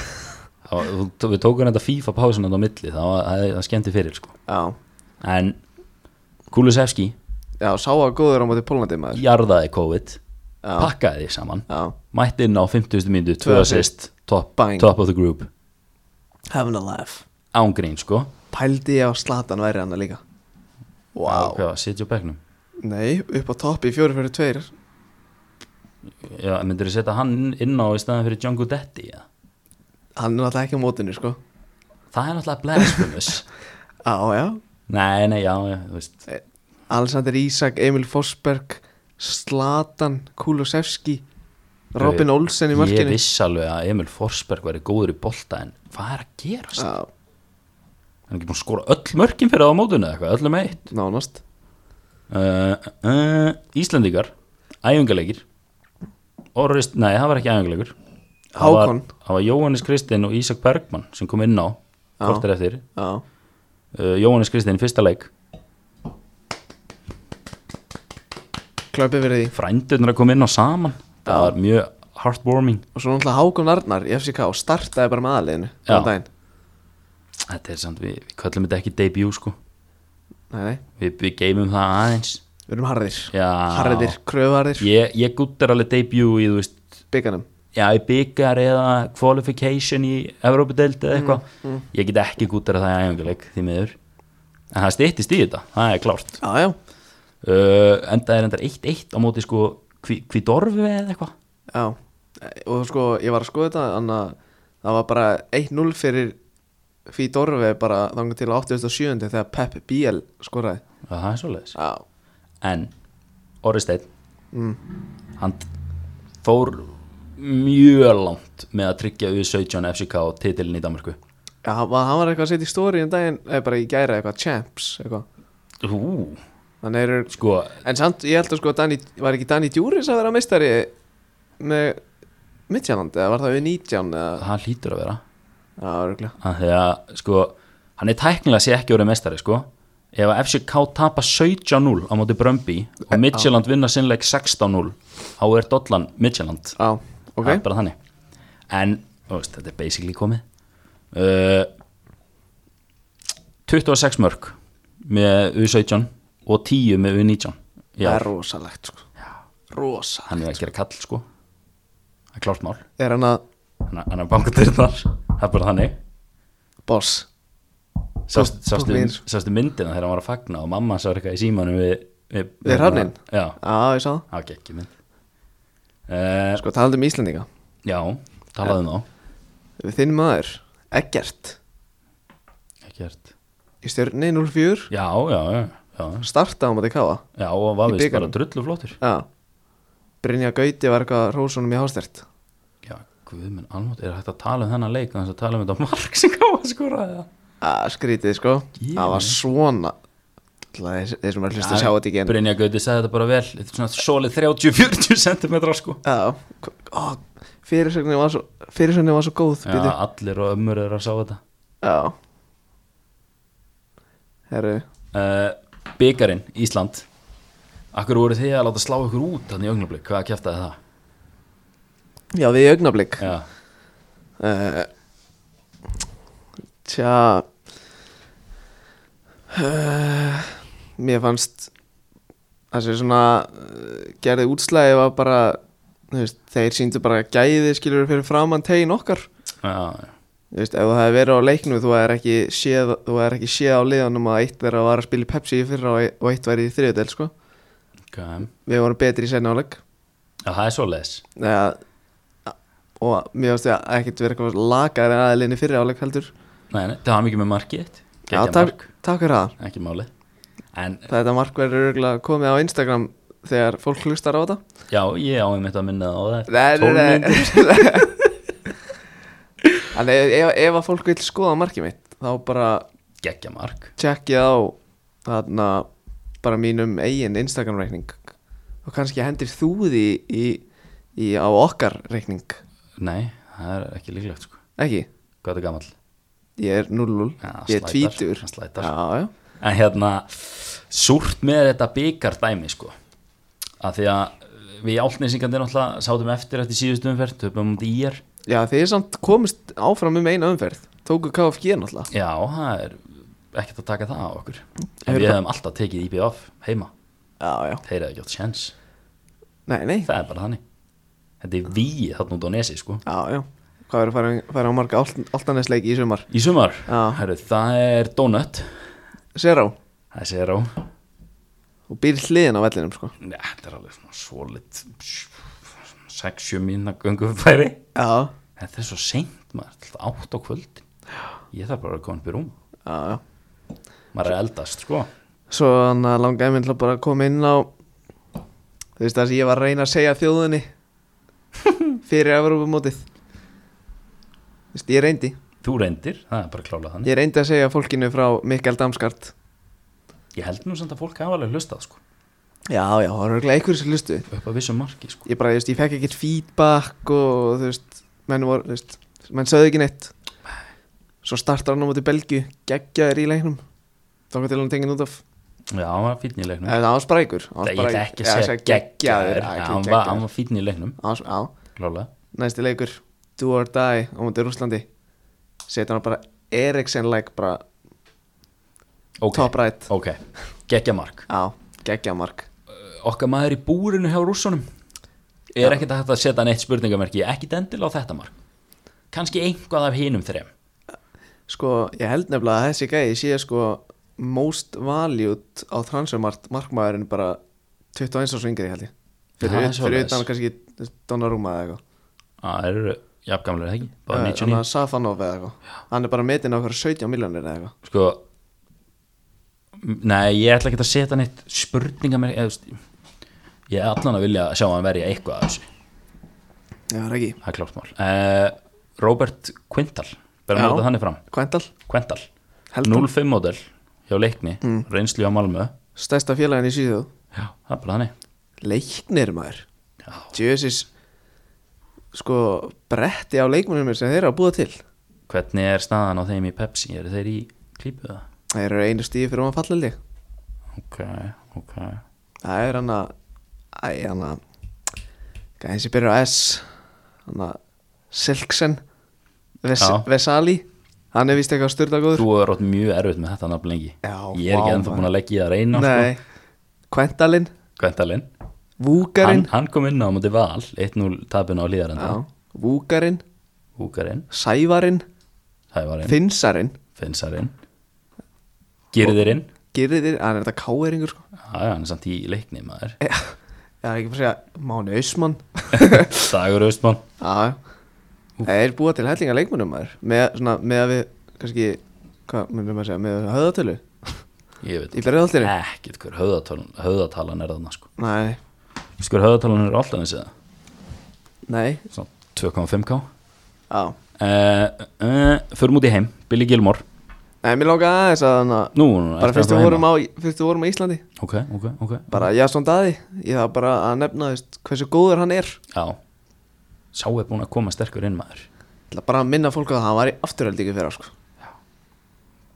B: Við tókum þetta FIFA pásin þetta á milli Það, var, það, það skemmti fyrir sko
A: Já,
B: En Kulusevski
A: já, sá að góður á móti Pólandi maður.
B: jarðaði COVID
A: Já.
B: Pakkaði því saman
A: Já,
B: Mætti inn á 50. mínútu,
A: Tvö
B: 2 assist top,
A: Bang.
B: top of the group
A: having a laugh.
B: Ángrín sko
A: Pældi ég á Slatan væri hann líka. Vá.
B: Hvað, Sitja á bekknum
A: Nei, upp á toppi í 4-4-2.
B: Já, myndir þú setja hann inn á í staðan fyrir Django Detti ja?
A: Hann er náttúrulega ekki á mótinu, sko.
B: Það er náttúrulega blasphemous
A: Já, já.
B: Nei, nei, já, já, þú veist
A: Alexander Isak, Emil Forsberg, Slatan, Kulusevski, Robin Olsen í
B: Ég
A: mörkinu.
B: viss alveg að Emil Forsberg væri góður í bolta En hvað er að gerast?
A: Já,
B: Hann er ekki búin að skora öll mörkin fyrir það á mótinu eða eitthvað, öllum eitt
A: nánast.
B: uh, uh, Íslendingar, æfingarleikir Orrist, nei, það var ekki æfingarleikur Það var-
A: Hákon.
B: Það var Jóhannes Kristinn og Ísak Bergmann sem kom inn á,
A: Já.
B: kortir eftir
A: Já,
B: uh, Jóhannes Kristinn í fyrsta leik
A: klöpið fyrir því.
B: Frændurnar að koma inn á saman
A: Já.
B: Það var mjög heartwarming
A: Og svo náttúrulega Hákon Arnar í FCK startaði bara með aðliðinu.
B: Já.
A: þann daginn.
B: Þetta er samt, við, við kallum þetta ekki debut sko
A: Nei, nei,
B: Við, við geymum það aðeins
A: við erum harðir.
B: Já.
A: Harðir, kröfuharðir,
B: Ég, ég guttar alveg debut í, þú veist
A: bygganum.
B: Já, í byggar eða qualification í Evrópudeild eða eitthvað
A: Mm,
B: Ég get ekki guttar það í æfingarleik því miður En það styttist í þetta, það er klárt
A: Já, já,
B: uh, Enda er endar 1-1 á móti sko Hví dorfi eða eitthvað
A: já. E- Og sko, ég var að skoða þetta, þannig að það var bara 1-0 fyrir Fídorfi bara þangar til 87. þegar Pep Biel skoraði.
B: Já, Það er svoleiðis
A: Já,
B: En Orri Steinn Hann fór mjög langt með að tryggja U17 FCK og titilin í Danmarku
A: já hann, var- hann var eitthvað að setja í stóri en daginn, eða bara í gæra eitthvað, champs, eitthvað.
B: Ú,
A: Þannig eru,
B: sko
A: en samt, ég held að sko, Danny, var ekki Danny Djúris að vera meistari með Midtjánandi, eða var það við 19 eða?
B: það hlýtur að vera
A: Já, örgulega
B: að því að sko hann er tæknilega sér ekki orðið mestari sko ef að FCK tapa 17-0 á móti Brömbi og Midtjylland vinna sinnleik 16-0 þá er dollan Midtjylland
A: Já, ok
B: það er bara þannig en þú veist, þetta er basically komið uh, 26 mörg með U17 og 10 með U19 já,
A: Það er rosalegt sko Rosa
B: hann er að gera kall sko það er klárt mál
A: Er hann að
B: hann er- hann er að banka dyrnar það er bara þannig
A: boss
B: Sást-
A: Tók- tók
B: sástu,
A: mig eins.
B: sástu myndina þegar hann var að fagna og mamma sá eitthvað í símanum við, við,
A: Við hrafninn?
B: já,
A: Já, ég sá það
B: það var ekki mynd uh,
A: Sko, talandi um Íslendinga
B: já, talaðu um nú
A: Við þinn maður, Eggert
B: ekkert,
A: Í stjörni 04
B: já, já, já já,
A: Starta á móti káa
B: já og var
A: Í
B: vist bara
A: bikarnum?
B: drullu flottur
A: Já Brynja Gauti var eitthvað rósunum í hástert
B: já, guð minn, almátt, er hægt að tala um þennan leik þannig að tala um þetta mark sem káða skoraði það?
A: Já, skrítið sko
B: Ég-
A: Það var svona alla þeir, þeir sem var að hlusta
B: Já,
A: sjá þetta ekki en
B: Brynja Gauti sagði þetta bara vel Þetta er svona solið 30-40 cm sko
A: Já, ó, fyrirsögnin var svo fyrirsögnin var svo góð
B: Já,
A: bíddu.
B: allir og ömmur eru að sá þetta
A: Já Herru
B: uh, Byggarinn, Ísland Akkur voru þið að láta slá ykkur út Þannig í augnablik, hvað kjæftaði það?
A: Já, við í augnablik
B: Já,
A: uh, Tja uh, Mér fannst Þessi svona uh, Gerði útslæði var bara þú veist, Þeir síndu bara gæði skilur fyrir framann tegin okkar
B: já, já,
A: Þú veist, ef þú hefði verið á leiknu þú hefði ekki, séð- þú hefðir ekki séð á liðanum að eitt þeirra var að spila í Pepsi í fyrra og og eitt væri í þriðudel sko.
B: ok
A: Við vorum betri í sennáleik
B: um? Já, það er svoleiðis
A: Eða, og mér finnst það ekkert verið eitthvað lagari aðeinni fyrir áleik heldur
B: Nei, nei, það var mikið með markið þitt.
A: Já,
B: Geggjað
A: takk, takk fyrir það
B: mark, Ekki máli En
A: Þetta mark verður örugglega komið á Instagram þegar fólk hlustar á þetta
B: já, ég á einmitt að minna það á það
A: Nei, nei, nei.
B: Tólmyndir
A: En ef, ef, ef að fólk vil skoða markið mitt þá bara
B: Gekja mark
A: tjekkið á þarna bara mínum eigin Instagram reikning og kannski hendir þú því í, í, á okkar reikning
B: Nei, það er ekki líklegt sko
A: ekki,
B: Hvað er það gamall?
A: ég er 0-0
B: Já, hann
A: ég er
B: slætar,
A: tvítur
B: hann slætar.
A: já, já.
B: En hérna, súrt með þetta byggar dæmi sko að því að við áltnýsingandir náttúrulega sátum eftir eftir síðustu umferð, töpum um dýjar
A: já, þið samt komist áfram um eina umferð tóku KFG náttúrulega
B: Já, það er ekkert að taka það á okkur En
A: Heyrðu
B: við
A: það-
B: hefum alltaf tekið IPF heima
A: já, já,
B: Þeir hefðu ekki átt sjens
A: nei, nei
B: Það er bara þannig Þetta er við þarna út á nesi sko
A: Já, já, hvað verður að fara, fara á marga áltanesleiki í sumar?
B: Í sumar,
A: Já.
B: herru, það er donut
A: Zero
B: Það segir á
A: og býr hliðin á vellinum sko
B: Nei, þetta er alveg svona svolit 6-7 mínna göngufæri
A: Já,
B: Þetta er svo seint maður, alltaf átt á kvöldin Ég þarf bara að koma upp í rúm
A: já, já
B: Maður er að eldast, sko
A: Svo hann að langaði minn til að bara koma inn á Þú veist það sem ég var að reyna að segja þjóðunni Fyrir Evrópumótið Þú veist, ég reyndi
B: Þú reyndir, það er bara að klála þannig
A: Ég reyndi að segja fólkinu frá Mikael Damskart
B: Ég held nú samt að fólk hafa alveg hlustað, sko
A: Já, já, það var örglega einhverjum sem hlustu
B: Upp að vissu marki, sko
A: Ég bara, þú veist, ég fekk ekkert feedback og þú veist, menn voru, þú veist menn sögðu ekki neitt Svo startar hann á móti Belgju, geggjaður í leiknum Tóka til hann tengið út af
B: Já, hann var fínn í leiknum
A: En það var sprækur Eh, hann
B: Það
A: var
B: ég ætla
A: sprækur.
B: ekki
A: Já, ég
B: að segja
A: sagði
B: geggjaður
A: já,
B: Já,
A: ekki
B: Hann var,
A: geggjaður.
B: hann var fínn í leiknum,
A: Hann var svo- Já,
B: klála
A: næsti leikur Do or Die á móti Rúslandi setja hann bara Eriksen-like bara
B: Ok,
A: top right
B: ok, geggja mark
A: Já, geggja mark
B: Okkar maður í búrinu hjá rússunum Er ekkert hægt að setja neitt spurningamerki Ekki dendil á þetta mark Kanski einhvað af hinum þreim
A: Sko, ég held nefnilega að þessi gæði sé sko most valued á transfermart markmaðurinn bara 21 árs yngri held ég
B: Það
A: fyrir,
B: er
A: ut- fyrir
B: svoleiðis.
A: utan kannski Donnarumma eða eitthvað
B: Það eru jafngamlega ekki Bara
A: Eh,
B: 99
A: hann að Safanov eða eitthvað hann er bara metin á okkur 17 miljonir eða eitthvað
B: sko nei, ég ætla ekki að setja neitt spurninga mér eða, þú veist, ég er allan að vilja sjá hann verja eitthvað af þessu,
A: Já, það er ekki
B: það er klárt mál uh, Robert Quintal verðum
A: Já.
B: að nota þannig fram,
A: Kvendal,
B: Quintal
A: Heldur. Mm.
B: 05 model hjá leikni reynslu á Malmö
A: stærsta félagin í Svíðjóð
B: já, það er bara þannig
A: Leiknir maður
B: já,
A: Jössis sko bretti á leikmennum sem þeir eru að búa til
B: hvernig er staðan á þeim í Pepsi eru þeir í klípuða
A: þeir eru einu stíði fyrir að falla lík
B: ok, ok
A: það er hann að æ, hann að hvað eins og byrja á S hann að Silksen Ves,
B: Já.
A: Vesali hann er vist eitthvað styrla góður
B: þú er rátt mjög erfitt með þetta nafn lengi
A: Já,
B: ég er ekki
A: vá,
B: ennþá
A: maður.
B: búin að leggja í það reyna sko,
A: nei, Kventalin,
B: Quintalinn hann,
A: Vúkarinn
B: hann kom inn á móti val 1-0 tapin á líðarenda
A: já, Vúkarinn,
B: Húkarinn,
A: Sævarinn
B: Hævarinn,
A: Finnsarinn,
B: Finnsarinn Girðirinn
A: Girðir hann er þetta káeringur sko
B: Já, já, hann er samt í leikni maður
A: já, það er ekki bara að segja Máni Ausmann
B: Dagur Östmann
A: Já, það er búa til hellinga leikmennum maður með, svona, með að við kannski, hvað myndum maður að segja með höðatölu
B: Ég veit
A: í bregðaltinu
B: ekkert hver höðatalan, höðatalan er þarna sko
A: Nei,
B: Veistu hver höðatalan er alltaf eins eða?
A: nei,
B: Svona 2,5k uh,
A: á,
B: Eh, uh, Förum út í heim, Billy Gilmore
A: Nei, mér lóka aðeins að hann að
B: Nú, nú,
A: bara
B: eftir
A: fyrst við
B: að Mm. þú
A: vorum
B: heima.
A: á fyrst við vorum á Íslandi
B: Ok, ok, ok
A: bara Jason Daði ég þarf bara að nefna veist, hversu góður hann er ég
B: Já Sá er búin að koma sterkur inn maður
A: ætla bara að minna fólk að hann var í afturhaldingu fyrir sko.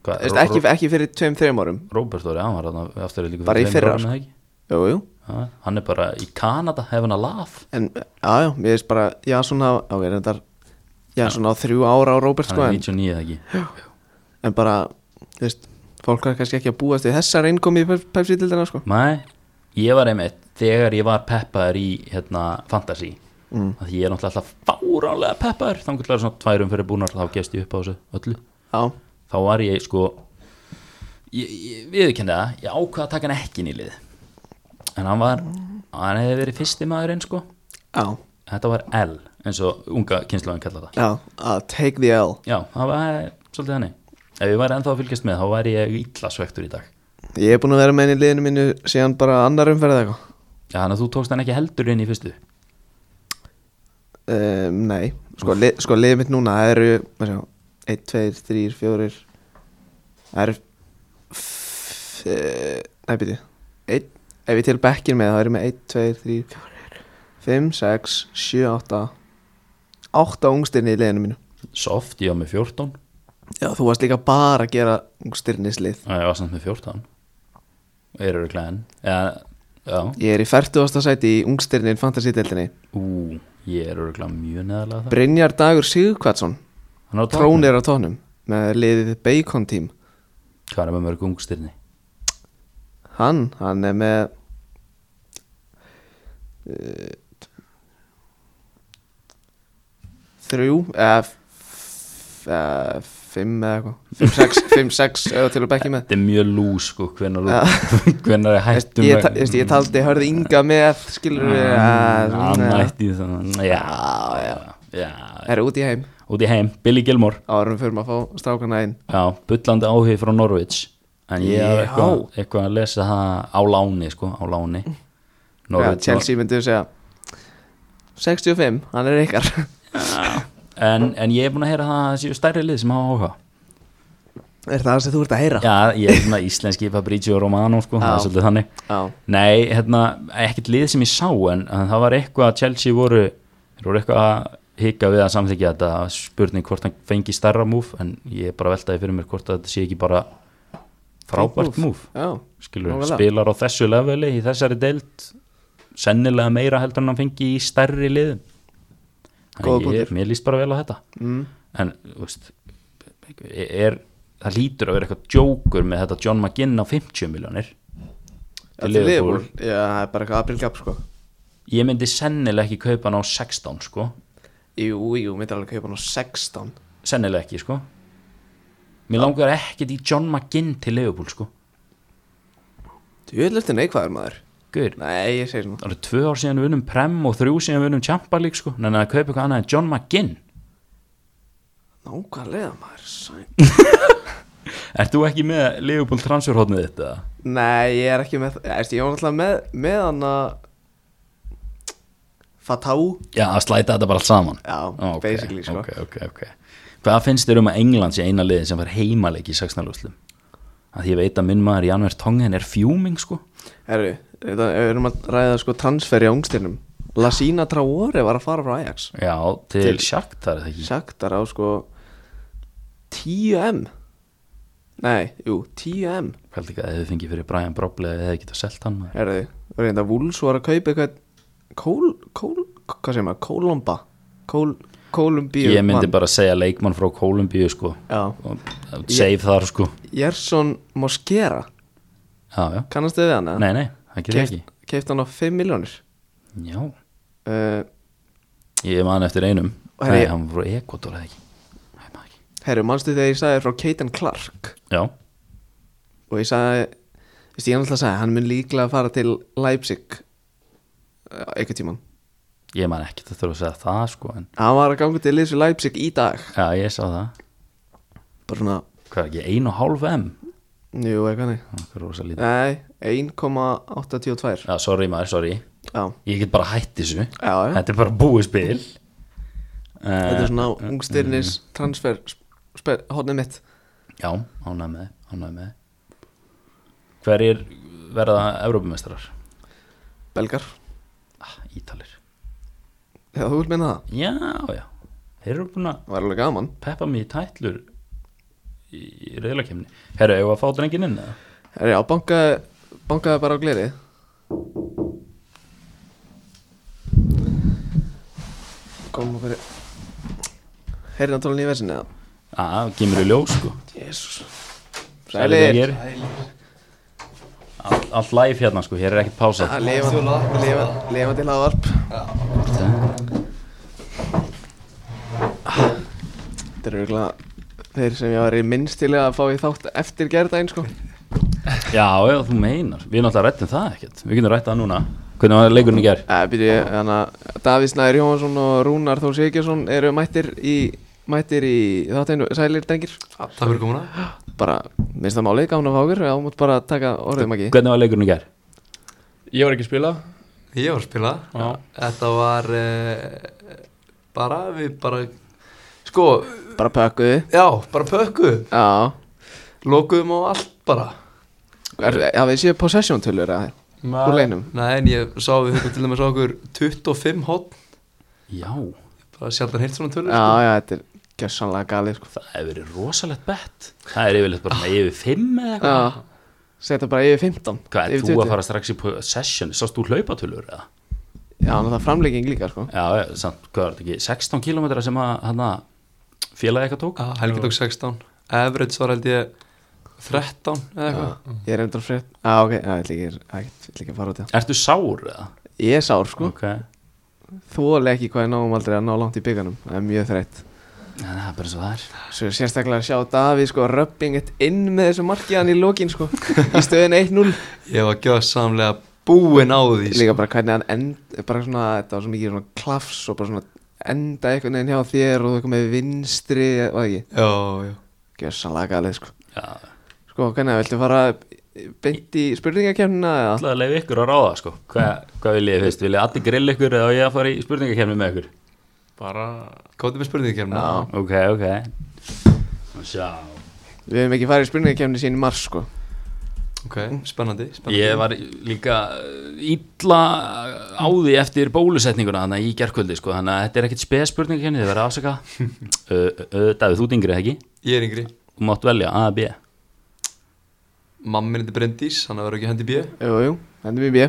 B: Hvað,
A: Veist, ekki, ekki fyrir tveim, þreim árum
B: Robert Dóri, hann var þarna aftur líka
A: Bara í
B: tveimur
A: fyrra,
B: árum,
A: sko.
B: eða ekki?
A: jú, jú.
B: Já, Hann er bara í Kanada, hefur hann að laf
A: en já, já, mér veist bara Jason hafa, ok, reyndar Jason á þrjú ára á Robert
B: Hann
A: sko,
B: er
A: en,
B: 99 eða ekki
A: en bara þú veist, fólk var kannski ekki að búast við þessar innkomi í Pepsi-dildina sko.
B: Nei, ég var einmitt Þegar ég var peppaður í hérna, fantasy
A: Mm.
B: Því ég er náttúrulega alltaf fáránlega peppaður Þannig að það er svona tværum fyrir búnar Þá gefst ég upp á þessu öllu
A: já,
B: Þá var ég sko Ég, ég viðurkenni það, ég ákvað að taka hann ekki inn í lið En hann var Hann hefði verið fyrsti maðurinn sko
A: já,
B: Þetta var L, eins og unga kynslaðin kallar það
A: já að take the L
B: Já, það var eh, svolítið hannig Ef ég væri ennþá að fylgjast með, þá væri ég illa svektur í dag
A: ég er búin að vera með henni í liðinu mínu síðan bara annar umferð eða eitthvað
B: Já, þannig að þú tókst hann ekki heldur inn í fyrstu
A: Um, nei, sko, li, sko liðið mitt núna það eru, maður sjá, 1, 2, 3, 4 Það eru f- eh, Nei, býti Einn- Ef ég til bekkin með það eru með 1, 2, 3, 4 5, 6, 7, 8 8 ungstirni í liðinu mínu
B: Soft, ég var með 14
A: Já, þú varst líka bara að gera ungstirnislið
B: Nei, ég var samt með 14 Erur við klæðin Já, já
A: Ég er í 40. sæti í ungstirnin fantasíteldinni
B: Ú, ég er öruglega mjög neðarlega það
A: Brynjar Dagur Sigurkvatsson
B: Hann er á toppnum.
A: Trónir á tónum með liðið Bacon Team
B: Hvað er með mörg ungstirni?
A: Hann, hann er með eh, Þrjú eða f- eða Fimm eða eitthvað Fimm, sex, fimm, sex eða til að bekki með
B: Þetta er mjög lús, sko, hvenar, þú- hvenar er
A: Veist,
B: hættum
A: Ég, ta- veist, ég taldi, hörði ynga með eh, Skilur við
B: Ah, Hann
A: Það
B: hætti þannig Já, já, já
A: er út í heim
B: Út í heim, Billy Gilmore
A: Árum fyrir maður að fá strákana inn
B: Já, bullandi áhugi frá Norwich En ég hef
A: Já.
B: eitthvað, eitthvað að lesa það á láni, sko, á láni
A: ja,
B: Norwich
A: Chelsea myndi segja 65, hann er ykkar
B: en, en ég hef búin að heyra það að það séu stærri lið sem hafa áhuga
A: Er það það sem þú ert að heyra?
B: Já, ég er svona íslenski Fabrizio Romano, sko, það
A: Já.
B: er svolítið þannig
A: Já.
B: Nei, hérna, ekkert lið sem ég sá en, en það var eitthvað að Chelsea voru þeir voru eitthvað að hika við að samþykja þetta spurning hvort hann fengi stærra múf en ég bara veltaði fyrir mér hvort að þetta sé ekki bara frábært múf
A: Já,
B: skilur,
A: Nákvæmlega.
B: spilar á þessu leveli í þessari deild sennilega meira heldur en hann fengi í stærri liðum
A: Góður
B: Þannig ég,
A: punktur.
B: mér líst bara vel á þetta
A: mm.
B: en þú veist er, það lítur að vera eitthvað djókur með þetta John McGinn á 50 miljónir
A: Þetta er Liverpool Já, það er bara eitthvað aprilgap sko
B: ég myndi sennilega ekki kaupa hann á 16 sko,
A: Jú, jú, myndir alveg kaupa hann á 16
B: sennilega ekki sko mér langar ekkert í John McGinn til Liverpool sko
A: Þú er leftur neikvæður maður
B: Guður,
A: Nei, ég segi svona
B: það eru tvö ár síðan við unum Prem og þrjú síðan við unum Champa lík sko, en að kaupa eitthvað annað en John McGinn
A: Nákvæmlega maður sæn.
B: Ert þú ekki með Liverpool transferhóttnið þitt eða?
A: Nei, ég er ekki með Æst, Ég var náttúrulega með, með hann að Fatá
B: Já, að slæta þetta bara allt saman
A: Já,
B: Ó, Ah, ok,
A: basically sko
B: ok, ok, ok Hvað finnst þér um að England sé eina liðin sem var heimaleik í 16. úrslum? Að því ég veit að minn maður Janver Tongen er fjúming sko
A: Herru, þetta við erum að ræða sko transfer í ángstirnum Lasina Traore var að fara frá Ajax
B: Já, til,
A: Til-
B: til Shakhtar er það ekki
A: Saktar á sko 10M Nei, jú, 10M
B: Held ekki að þið fengið fyrir Brian Brobley eða þið hefði getað selt hann maður.
A: Herðu, reynda Wools var að kaupa eitthvað Kól, kól, hvað segir maður, Kólomba Kól, Kólumbíu
B: Ég myndi bara segja leikmann frá Kolumbíu sko
A: Já,
B: og save þar sko
A: Jersson Moskera
B: Já, já,
A: Kannast þið við hana?
B: nei, nei, það getur ekki
A: Keift hann á 5 miljónir
B: Já,
A: uh,
B: ég man eftir einum
A: Og
B: Nei,
A: herri-
B: hann var frá Ekotor eða ekki Nei, maður ekki
A: Herru, manstu þegar ég sagði frá Keiten Clark
B: Já,
A: Og ég sagði, veist ég annars að sagði Hann mun líklega fara til Leipzig uh, Eitthvað tíman
B: ég man ekki að þurfa að segja það sko en
A: Hann var að ganga til Lýsu Leipzig í dag
B: já, ég sá það
A: Bara svona,
B: Hvað er ekki, 1,5 M?
A: jú, eitthvað nei
B: Það er rosa lítið
A: Nei, 1,82
B: Já, sorry maður, sorry
A: Já,
B: Ég get bara hætt þessu
A: já, já
B: Þetta er bara búið
A: Þetta
B: spil uh, Mm.
A: er svona ungstirnis transfer spe- hornið mitt
B: Já, ánægð með, ánægð með Hverjir verða Evrópumestrar?
A: Belgar,
B: Ah, Ítalir
A: eða þú vil minna það
B: Já, já, þeir eru búin að
A: Það var alveg gaman
B: peppa mig í tætlur í reyðlakemni Herru, eigum við að fá drengin inn eða?
A: Herri, já, bankaði, bankaði bara á gleri Komum okkur í- Heyrið náttúrulega í versinni eða
B: Já, ah, kemur í ljós sko
A: Jésús
B: drengir.
A: Sælir
B: Allt, allt live hérna sko, hér er ekkert pásað
A: Að lifa, lifa, lifa til aðvarp Þetta eru örugglega þeir sem ég var í minnst til að fá í þátt eftir gerðdæn sko
B: Já, já, þú meinar, við náttúrulega rættum það ekkert Við getum rætt það núna Hvernig var leikurinn í ger?
A: Æ, byrju, þannig að Davíð Snæður Jóhansson og Rúnar Þór Sigurðsson eru mættir í, mættir í þátteinu sælir drengir
C: Takk fyrir komuna
A: bara, minnst það málið, gána fákur eða ámútt bara taka orðum ekki
B: Hvernig var leikurinn í ger?
D: Ég var ekki að spila
C: Ég var að spila
D: Já.
C: Þetta var uh, bara, við bara Sko,
A: bara pökkuðu
C: já, bara pökkuðum
A: Já,
C: Lokuðum á allt bara
A: Er- hafið þið séð possession tölur eða úr leinum?
C: Nei, en ég sá, við höfum til dæmis á okkur 25 hot
B: Já,
C: Bara sjaldan heilt svona tölur sko.
A: Já, já, þetta er gjössanlega galið sko
B: það hefur verið rosalegt bett Ah. Það er yfirleitt bara svona yfir fimm eða eitthvað
A: Já, setja bara yfir 15
B: Hvað, er
A: yfir
B: þú
A: 20?
B: að fara strax í session? Sást þú hlaupatölur eða?
A: Já, en það er framlegging líka sko
B: Já, já, samt, hvað var þetta ekki? 16 km sem að hana, félagi eitthvað tók?
C: Já, Helgi tók 16 Average var held ég 13 eða
A: Já,
C: eitthvað
B: Mm.
A: Ég er endur frétt Já, ok, já, ég ætla ekki, ég ætla ekki að fara út í það
B: Ertu sár eða?
A: Ég er sár sko
B: Ok, en
A: Þóli ekki hvað ég náum aldrei að ná langt í bygganum Það er mjög þreytt
B: það er bara svo það er
A: Svo sérstaklega að sjá Davíð sko Röpping eitt inn með þessu markiðan í lokin sko Í stöðin 1-0
C: Ég var gjössamlega búinn á því sko.
A: Líka bara hvernig hann end Bara svona, þetta var svo mikið svona klafs Og bara svona enda einhvern veginn hjá þér Og þú komið við vinstri Og það ekki,
C: Já, já
A: gjössanlega galið sko
B: Já,
A: Sko, hvernig, viltu fara beint í spurningakefnina eða?
B: alltaf leif ykkur að ráða sko Hvað, hvað vil ég fyrst? Vil ég allir grill ykkur eða á ég að fara í spurningakefni með ykkur?
D: bara
C: Kótið með spurningi kemna
A: Já,
B: Ok, ok Og Sjá
A: við hefum ekki farið í spurningakefni sín í mars sko
C: Ok, spennandi, spennandi
B: Ég var líka eh, illa á því eftir bólusetninguna þannig í gerkvöldi sko þannig að þetta er ekkit spes spurningakefni þið verða afsaka uh, uh, Davíð, þú dingri ekki?
C: Ég er yngri
B: Þú mátt velja A, B
C: Mammin er Bryndís, hann verður ekki hendi bíu
A: Jú, jú, hendur mér bíð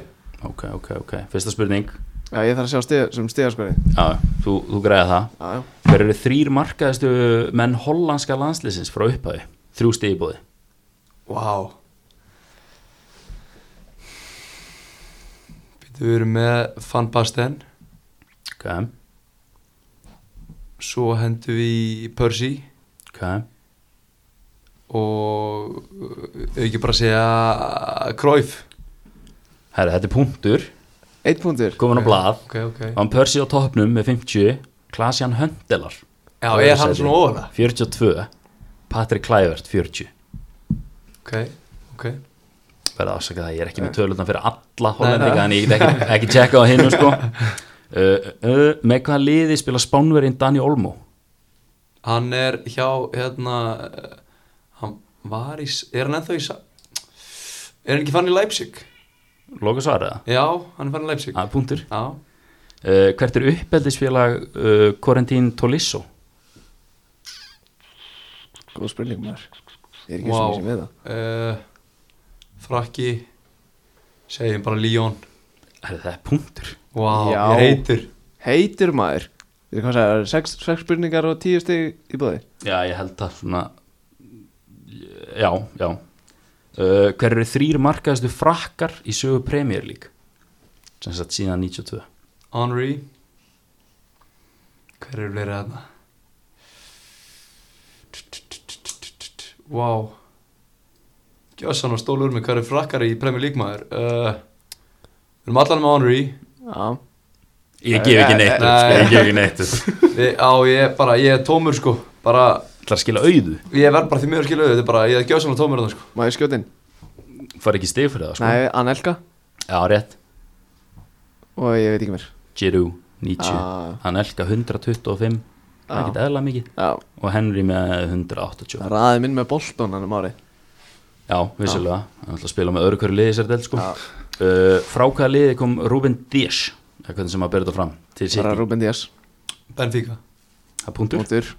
B: Ok, ok, ok, fyrsta spurning
A: Já, ég þarf að sjá stið, sem stiðaskori
B: Já, þú, þú græða það
A: Já, já
B: Hver eru þrýr markaðistu menn hollandska landslýsins frá upphæði? Þrjú stigi bóði
C: Vá wow. Við erum með Van Basten
B: Ok,
C: Svo hendum við í Percy
B: ok
C: Og uh, ekki bara að segja Cruyff
B: Herra, þetta er punktur
A: Eitt punktur
B: Komin á blað
C: Ok, ok
B: Van Persie á toppnum með 50 Klasjan Höndelar
C: Já, er hann svona ofan það?
B: 42 Patrik Klævert 40
C: Ok, ok
B: Verða afsaka það, ég er ekki með tölutna fyrir alla hollendinga En ég get ekki, ekki tjekka á hinn sko. uh, uh, Með hvaða liði spila spánverinn Dani Olmo?
C: Hann er hjá, hérna uh, Hann var í, s- er hann ennþá í sa- Er hann ekki fann í Leipzig?
B: Loka svaraða
C: Já, hann er fann í Leipzig
B: A, punktur
C: Já,
B: Uh, hvert er uppeldisfélag uh, Corentín Tolisso?
A: Góð spurning maður Ég er ekki
C: Vá.
A: wow. sem við það
C: uh, Frakki Segjum bara Líón
B: Er það er punktur?
C: Vá,
A: Já.
C: ég heitur
A: Heitur maður Við erum hvað að segja, það eru sex, sex spurningar og tíu stig í bóði
B: Já, ég held það svona Já, já uh, Hver eru þrýr markaðistu frakkar í sögu Premier League? Sem sagt síðan 92
C: Henry Hver eru fleiri þarna? Vá Gjössan og stólur með hverju frakkar í Premier League maður uh, Við erum allan með Henry
A: Já
B: Ég gef ekki neitt upp, sko,
C: Nei.
B: Ég gef ekki neitt upp.
C: Við, Á, ég er bara, ég er tómur sko Bara,
B: Það er að skila auðu
C: ég verð bara því mjög skiluðu Þetta er bara, ég er gjössan og tómur þarna sko
A: Má ég skjótin?
B: Far ekki stig fyrir það sko.
A: Nei, Anelka
B: Já, rétt
A: Og ég veit ekki mér
B: Giroud 90
A: Ah.
B: Hann elka 125 ekkert eðla mikið
A: Já,
B: og Henry með 180
A: það raði minn með boltón hann um árið
B: já, vissulega, hann ætla að spila með öðru hverju liði sér del sko.
A: Já.
B: uh, frá hvaða liði kom Ruben Díaz það er hvernig sem að bera þetta fram til
A: Bara
B: City,
A: Ruben Díaz,
C: Benfica
B: það er punktur
A: mútur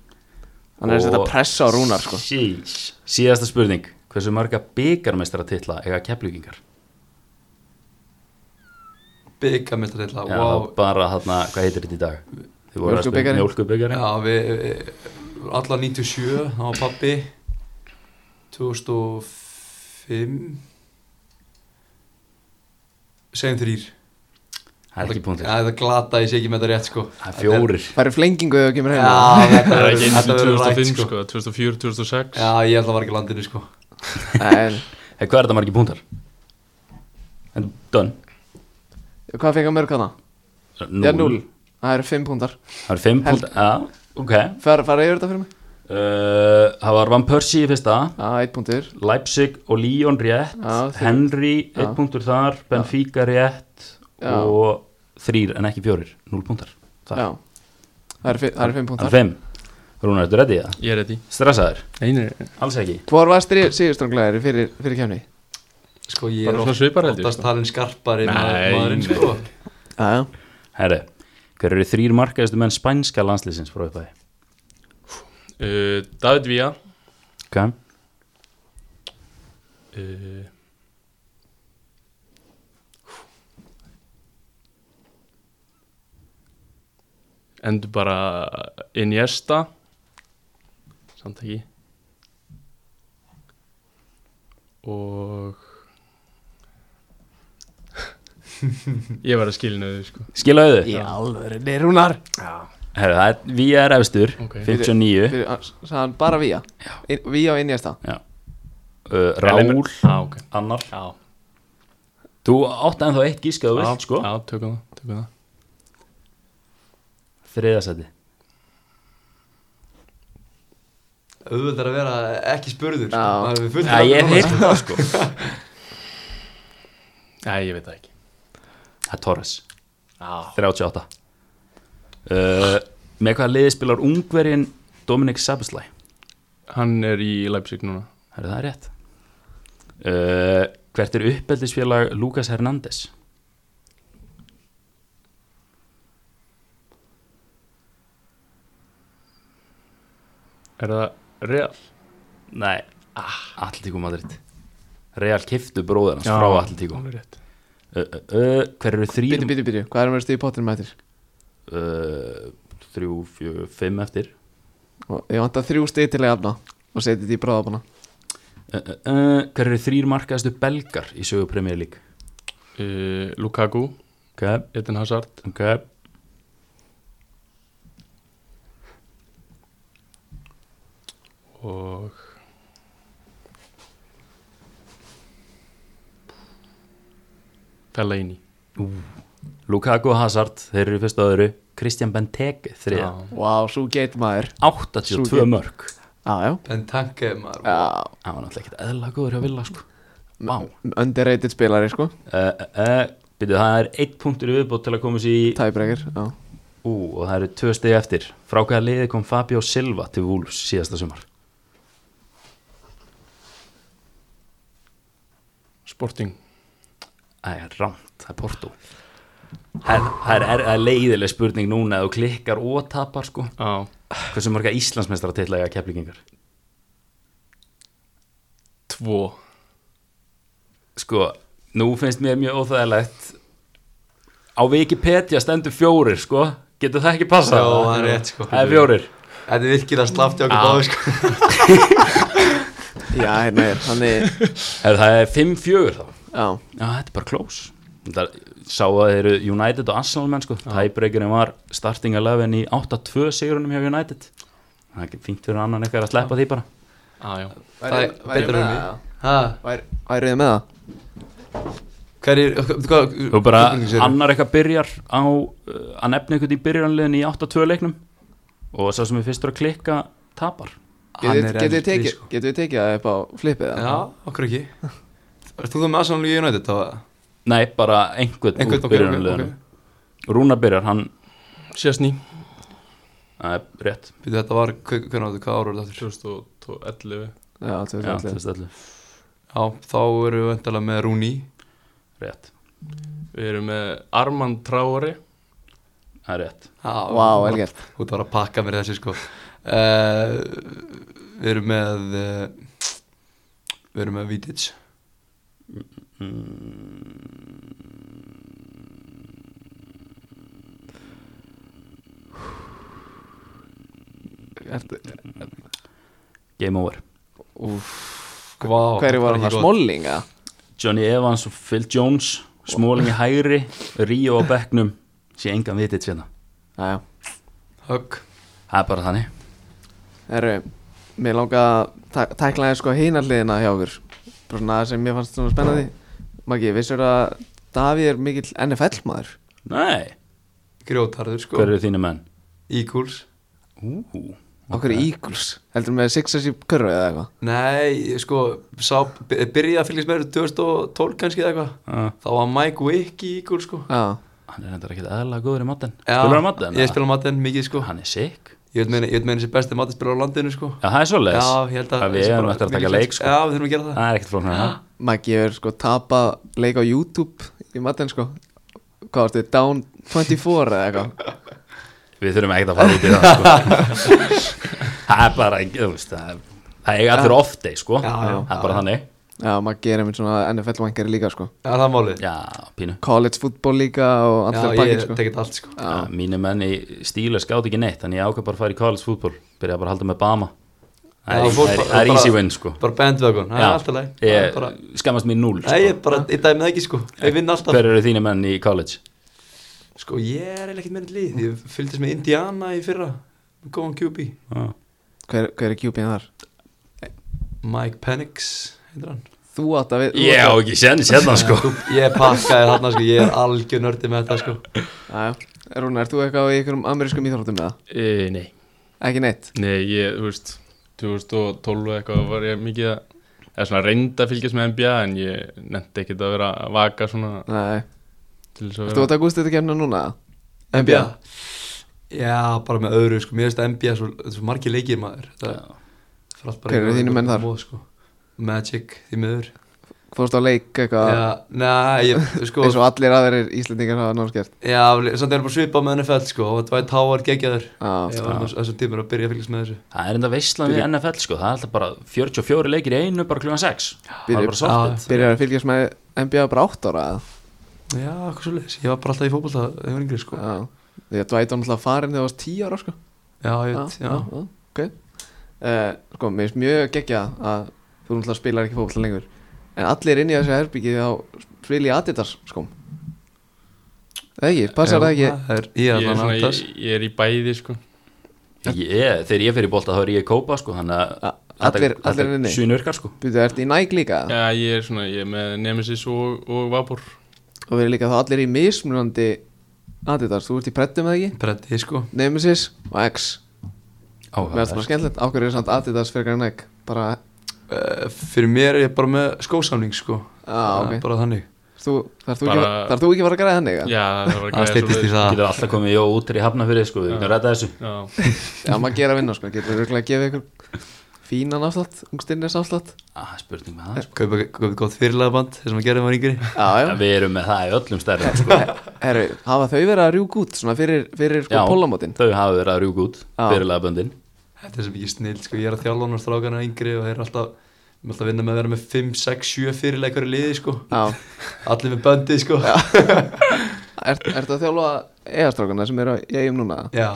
A: Hann er að setja
B: Og-
A: pressa á Rúnar sko
B: Sheesh. síðasta spurning, hversu marga byggarmeistara titla eiga keflugingar
A: Ah,
C: byggamildarilla
B: Já,
C: wow.
B: bara þarna, hvað heitir þetta í dag? Þið voru að spila-
A: Mjólkubikarinn.
B: Mjólkubikarinn
C: já, við við- alla 97, það var pappi 2005 segjum þrýr
B: Það er ekki punktur,
C: Já, það glata, ég sé ekki með þetta rétt sko
B: það er fjórir
A: Færi flengingu þegar þú kemur heim
C: Já, þetta
D: Það er ekki
C: verður-
D: eins
C: þetta
D: og
C: verður rætt
D: 2005
C: sko
D: sko, 2004, 2006
C: Já, ég ætla að var ekki í landinu sko
A: En
B: Hey, Hvað er þetta margi punktar? En done
A: hvað fekk hann mörg hana?
B: Núll.
A: Já, 0 Það eru 5 púntar
B: Það er fimm
A: Held-
B: punktar, já, ok
A: Fara fara yfir þetta fyrir mig?
B: uh, Það var Van Persie í fyrsta
A: Já, 1 púntur
B: Leipzig og Lyon rétt
A: Já, þrír.
B: Henry, einn
A: Já.
B: punktur þar Benfica rétt
A: Já.
B: og þrýr en ekki fjórir, núl punktar
A: Já
B: Það
A: Það eru fi- það eru 5
B: það er
A: púntar
B: fimm Rúnar, ertu ready í það?
D: Ég er ready
B: Stressaður?
D: Nei, nei, nei.
B: Alls ekki
A: Hvor var síðustranglegaðir fyrir, fyrir kemni?
C: Sko, ég
D: Bara
C: er
D: svona svipar heldur,
C: oftast
D: sko.
C: talin skarpari
D: Nei,
C: maður- maðurinn
D: nei.
A: Já,
C: sko
A: já
B: Herri, hver eru þrýr markaðistu menn spænska landslýsins frá upphæði?
D: Uh, David Villa
B: Ok,
D: uh, Endur bara Iniesta Samt ekki Og Ég var að skilinu þau sko
B: skilaðu þau?
A: Í alveg, nei Rúnar
B: Herri, það er, við er efstur,
D: Ok.
B: 59
A: Fyrir, sagði hann bara Vía In- Vía og Iniesta
B: uh,
D: Elena-
B: Rál,
D: Já, ok
B: annar
D: Já,
B: Þú átt ennþá eitt gískaðu
D: já,
B: vilt, sko
D: já tökum það, tökum það
B: Þriðasæti
C: Auðvitað er að vera ekki spurður sko.
A: Já.
C: Maður er með
B: Já,
C: fullt nafn
B: ég
C: núna,
B: heyrði
C: sko.
B: það, sko
D: Æ, ég veit það ekki
B: Það er Torres,
D: Já
B: 38 uh, Með hvaða liði spilar ungverjin Dominik Sabislæ?
D: Hann er í Leipzig núna
B: Herri, það er rétt uh, Hvert er uppeldisfélag Lucas Hernández?
D: Er það real?
B: Nei, Ah, Atletico Madrid Real kiftu bróður hans
D: Já.
B: frá Atletico
D: Hún er rétt
B: uh, uh, uh, Hver eru þrýr
A: Bítu, bítu, bítu Hvað erum við stíð í pottinum eftir?
B: uh, Þrjú, fjö, fimm eftir
A: Og Ég vant að þrjú stíð til að jafna Og setja þetta í bráðabana
B: uh, uh, uh, Hver eru þrýr markaðastu belgar í sögu Premier League
D: uh, Lukaku,
B: Ok,
D: Eden Hazard
B: ok
D: og Fellaini
B: Lukaku Hazard, þeir eru í fyrsta og öðru Christian Benteke, þriða
D: Já.
A: Vá, svo geit maður
B: 82
A: Sú-
B: mörg
A: Já, já
C: Bentanke eh, maður
A: Já,
B: Það var náttúrulega ekkert eðla góður hjá Villa sko Vá uh,
A: underrated spilari sko
B: uh, uh, Býtu, það er eitt punktur í viðbót til að koma sér í
A: Tæbreykir, já
B: Ú, og það eru tvö stegi eftir Frá hvaða liði kom Fabio Silva til Wolves síðasta sumar?
D: Sporting
B: Það er rámt, það er Porto Það er, það er, er, það er leiðileg spurning núna ef þú klikkar og tapar sko
D: Já,
B: Hversu marga Íslandsmeistara til að keflingingar?
D: tvo
B: Sko, nú finnst mér mjög óþægilegt Á Wikipedia stendur fjórir sko Getur það ekki
C: Já,
B: passað?
C: það er rétt sko
B: Það er fjórir
C: Þetta er virkilega slafti okkur báði sko
A: Já, hérna er, hann er
B: Ef það er fimm fjögur þá
A: Já,
B: Já, þetta er bara close Það sá að þeir eru United og Arsenal menn sko Tæbreykjurinn var starting 11 í 8-2 sigurunum hjá United Það er ekki fínt fyrir annan eitthvað að sleppa því bara
D: Já, já
C: Það er betra en við. Ha,
A: Væriði með það?
C: Hverjir, hvað
B: Þú bara
C: spurningu sér? um-
B: annar eitthvað byrjar á uh, að nefna eitthvað í byrjanliðin í 8-2 leiknum og sá sem er fyrstur að klikka tapar
C: Hann
A: Getum
C: er
A: getum við
C: eldri,
A: tekið,
C: sko.
A: getum við tekið það upp á flipið það?
C: Já, okkur ekki Erst þú þá með Arsenal í United þá? eða?
B: Nei, bara einhvern
C: Einhvern,
B: úr
C: ok, ok,
B: byrjanliðin Rúna byrjar, hann
D: Sjastný
B: það er rétt
C: Býtu, þetta var, hve- hvernig var þetta, hvað ára var þetta aftur?
D: 2011
A: Já,
B: já,
A: 2011
B: 2011,
C: Já, þá erum við vöndalega með Rúni
B: rétt,
D: Við erum með Armand Traori
B: það er rétt
A: Vá, wow, elgert
C: Þú þarf að pakka mér þessi sko uh, Við erum með uh, Við erum með Vidic
B: Mm, game over
C: wow,
A: Hverju var hann að smollinga?
B: Johnny Evans og Phil Jones smólingi hægri, Ríó á bekknum sé engan vitið sérna
A: Jæja,
C: Högg
B: það er bara þannig
A: herru Mér langa að tæ- tækla þér sko hinarliðina hjá okkur Bara svona aðeins sem mér fannst svona spennandi Maggi, vissur að Davíð er mikill NFL maður
B: nei,
C: Grjótarður sko
B: hver eru þínu menn?
C: Eagles
B: Ú,
A: Okkur okay. Eagles, heldur með Sixers í körfu eða eitthvað
C: Nei, sko sá, Byrjaði að fylgjast með þessu 2012 kannski eða eitthvað
B: uh,
C: Þá var Mike Wick í Eagles sko
A: Já,
B: hann er reyndar ekkert aðalega góður í matten
C: Já,
B: spilar hann matten?
C: Ég spila matten mikið sko
B: hann er sick
C: Ég veit meina, ég veit meina þessi besti matten á landinu sko
B: já, það er svoleiðis
C: Já, ég held að
B: Það við
C: sé
B: erum
C: bara
B: eftir að
C: mikil
B: taka leik
C: flex.
B: sko.
C: Já, við þurfum að gera það
B: það er ekkert flóknar það
A: Maggi er sko tapað leik á YouTube í matten sko Hvað varstu, down 24 eða eitthvað
B: Við þurfum ekkert að fara út í það sko. Það er bara þú veist, það er- Það er allir off day sko.
C: Já, já.
B: Það er bara þannig
A: Já, Maggi er einmitt svona NFL-vængari líka sko
C: Já, það er málið
B: Já, pínu
A: college fútból líka og allir
C: Já,
A: pakkin
C: ég
A: sko.
C: tekið allt sko
B: Já, Mínu menn í stíla skátt ekki neitt Þannig ég ákveð bara að fara í college fútbol Byrja bara að halda með Bama Það
C: Já,
B: er,
C: fór
B: það er,
C: bara-
B: það er
C: bara-
B: easy win sko.
C: Bara bandwagon, það er
B: Já.
C: alltaf leið Það er
B: Ég
C: bara-
B: skammast mér núl
C: Nei,
B: sko.
C: ég er bara, ég dæmi það ekki sko Ég vinn alltaf
B: Hver eru þínu menn í college?
C: Sko, ég er eiginlega ekkert meira lið Ég fylgdist með Indiana í fyrra Góðan QB
B: Já.
A: hver, hver er kjúpin þar?
C: Mike Penix, heitir hann
A: þú átt að við þú
B: Ég á
A: átt
B: ekki sens hérna sko
C: Þú- Ég pakkaði þarna sko, ég er algjör nördi með þetta sko
A: að- Jæja. Rúnar, ert þú eitthvað í einhverjum amerískum íþróttum eða?
D: e, Nei
A: ekki neitt
D: Nei, ég, þú veist 2012 eitthvað var ég mikið að eða svona reynda að fylgjast með NBA en ég nefndi ekkert að vera að vaka svona
A: Nei.
D: til þess að
A: ert þú átt að gúst þetta kemna núna?
C: NBA Já, bara með öðru sko Mér finnst að NBA svo, svo margir leikir maður Það
B: Já.
C: fer allt bara
A: Hver eru
C: í-
A: þínir menn þar?
C: móð, sko. Magic, því miður
A: fórst á leik eitthvað
C: Já, Nei, ég, sko
A: eins og allir aðrir íslendingar hafa náttúrulega
C: Já, samt erum bara svipað með NFL sko og Dwight Howard geggjaður
A: gert
C: Ég var á þessum tímur að byrja að fylgjast með þessu
B: Það er enda veistlan við NFL sko Það er alltaf bara 44 leikir í einu bara klukkan 6 Það er bara
A: Byrju-
B: sortið
A: byrjar að fylgjast með NBA bara 8 ára eða?
C: Já, hvað svo leiðis, ég var bara alltaf í fótbolta þegar ég var yngri sko Já,
A: já því að Dwight var náttúrulega farin þegar það varst 10 ára sko
C: ég veit, já,
A: ok uh, sko, mér finnst mjög geggja að þú náttúrulega spilar ekki fókvall lengur en allir inn í þessu herbyggi þá spila í Adidas sko það ekki, passar það ekki
C: Það er, ég
D: ég,
C: er
D: er svona,
C: þannig að
D: ég, ég er í bæði sko
B: Ég, þegar ég fer í bolta þá er ég að kópa sko þannig að
A: A- allir, allir inn í
B: Svinurkar sko
A: byrju, ertu í næg líka
D: Já, ég er svona, ég er með Nemesis og, og Vapor
A: og verður líka þá allir í mismunandi Adidas, þú ert í Preddum eða ekki
C: bretti sko
A: Nemesis og X
B: Ó,
A: mér finnst það skemmtilegt, ákveður er samt Adidas fyrir grann Nike bara,
C: uh, Fyrir mér er ég bara með skósamning sko
A: á,
C: Það er
A: ok
C: Bara þannig
A: þú, þarf þú ekki
D: Bara-
A: þarf þú ekki að fara að græða þannig eða?
D: Já, það var
C: Það styttist í
B: Þú
C: það
B: getur alltaf komið jó út í hafna fyrir sko, við getum rætta þessu
D: Já,
A: Já, maður gera vinna sko, getur örgulega að gefa ykkur fínan afslátt, ungstirnis afslátt
B: ah, Spurning með það sko.
C: Kaupa kaupa gott fyrirlega band Þess að maður gerði maður yngri
A: Já, já,
B: Við erum með það í öllum stærðum sko.
A: herru, hafa þau verið að rjúk út svona fyrir, fyrir sko
B: Já,
A: pólamótin
B: Þau hafa verið að rjúka út
A: Já.
B: fyrirlega böndin
C: Þetta er sem ekki snill sko Ég er að þjálfa hann og strákana yngri Og þeir eru alltaf Ég er alltaf að vinna með að vera með 5, 6, 7 fyrirlega hverju liði sko
A: Já,
C: Allir með bandi sko Já,
A: er, ertu að þjálfa eigastrákana sem eru í eigum núna?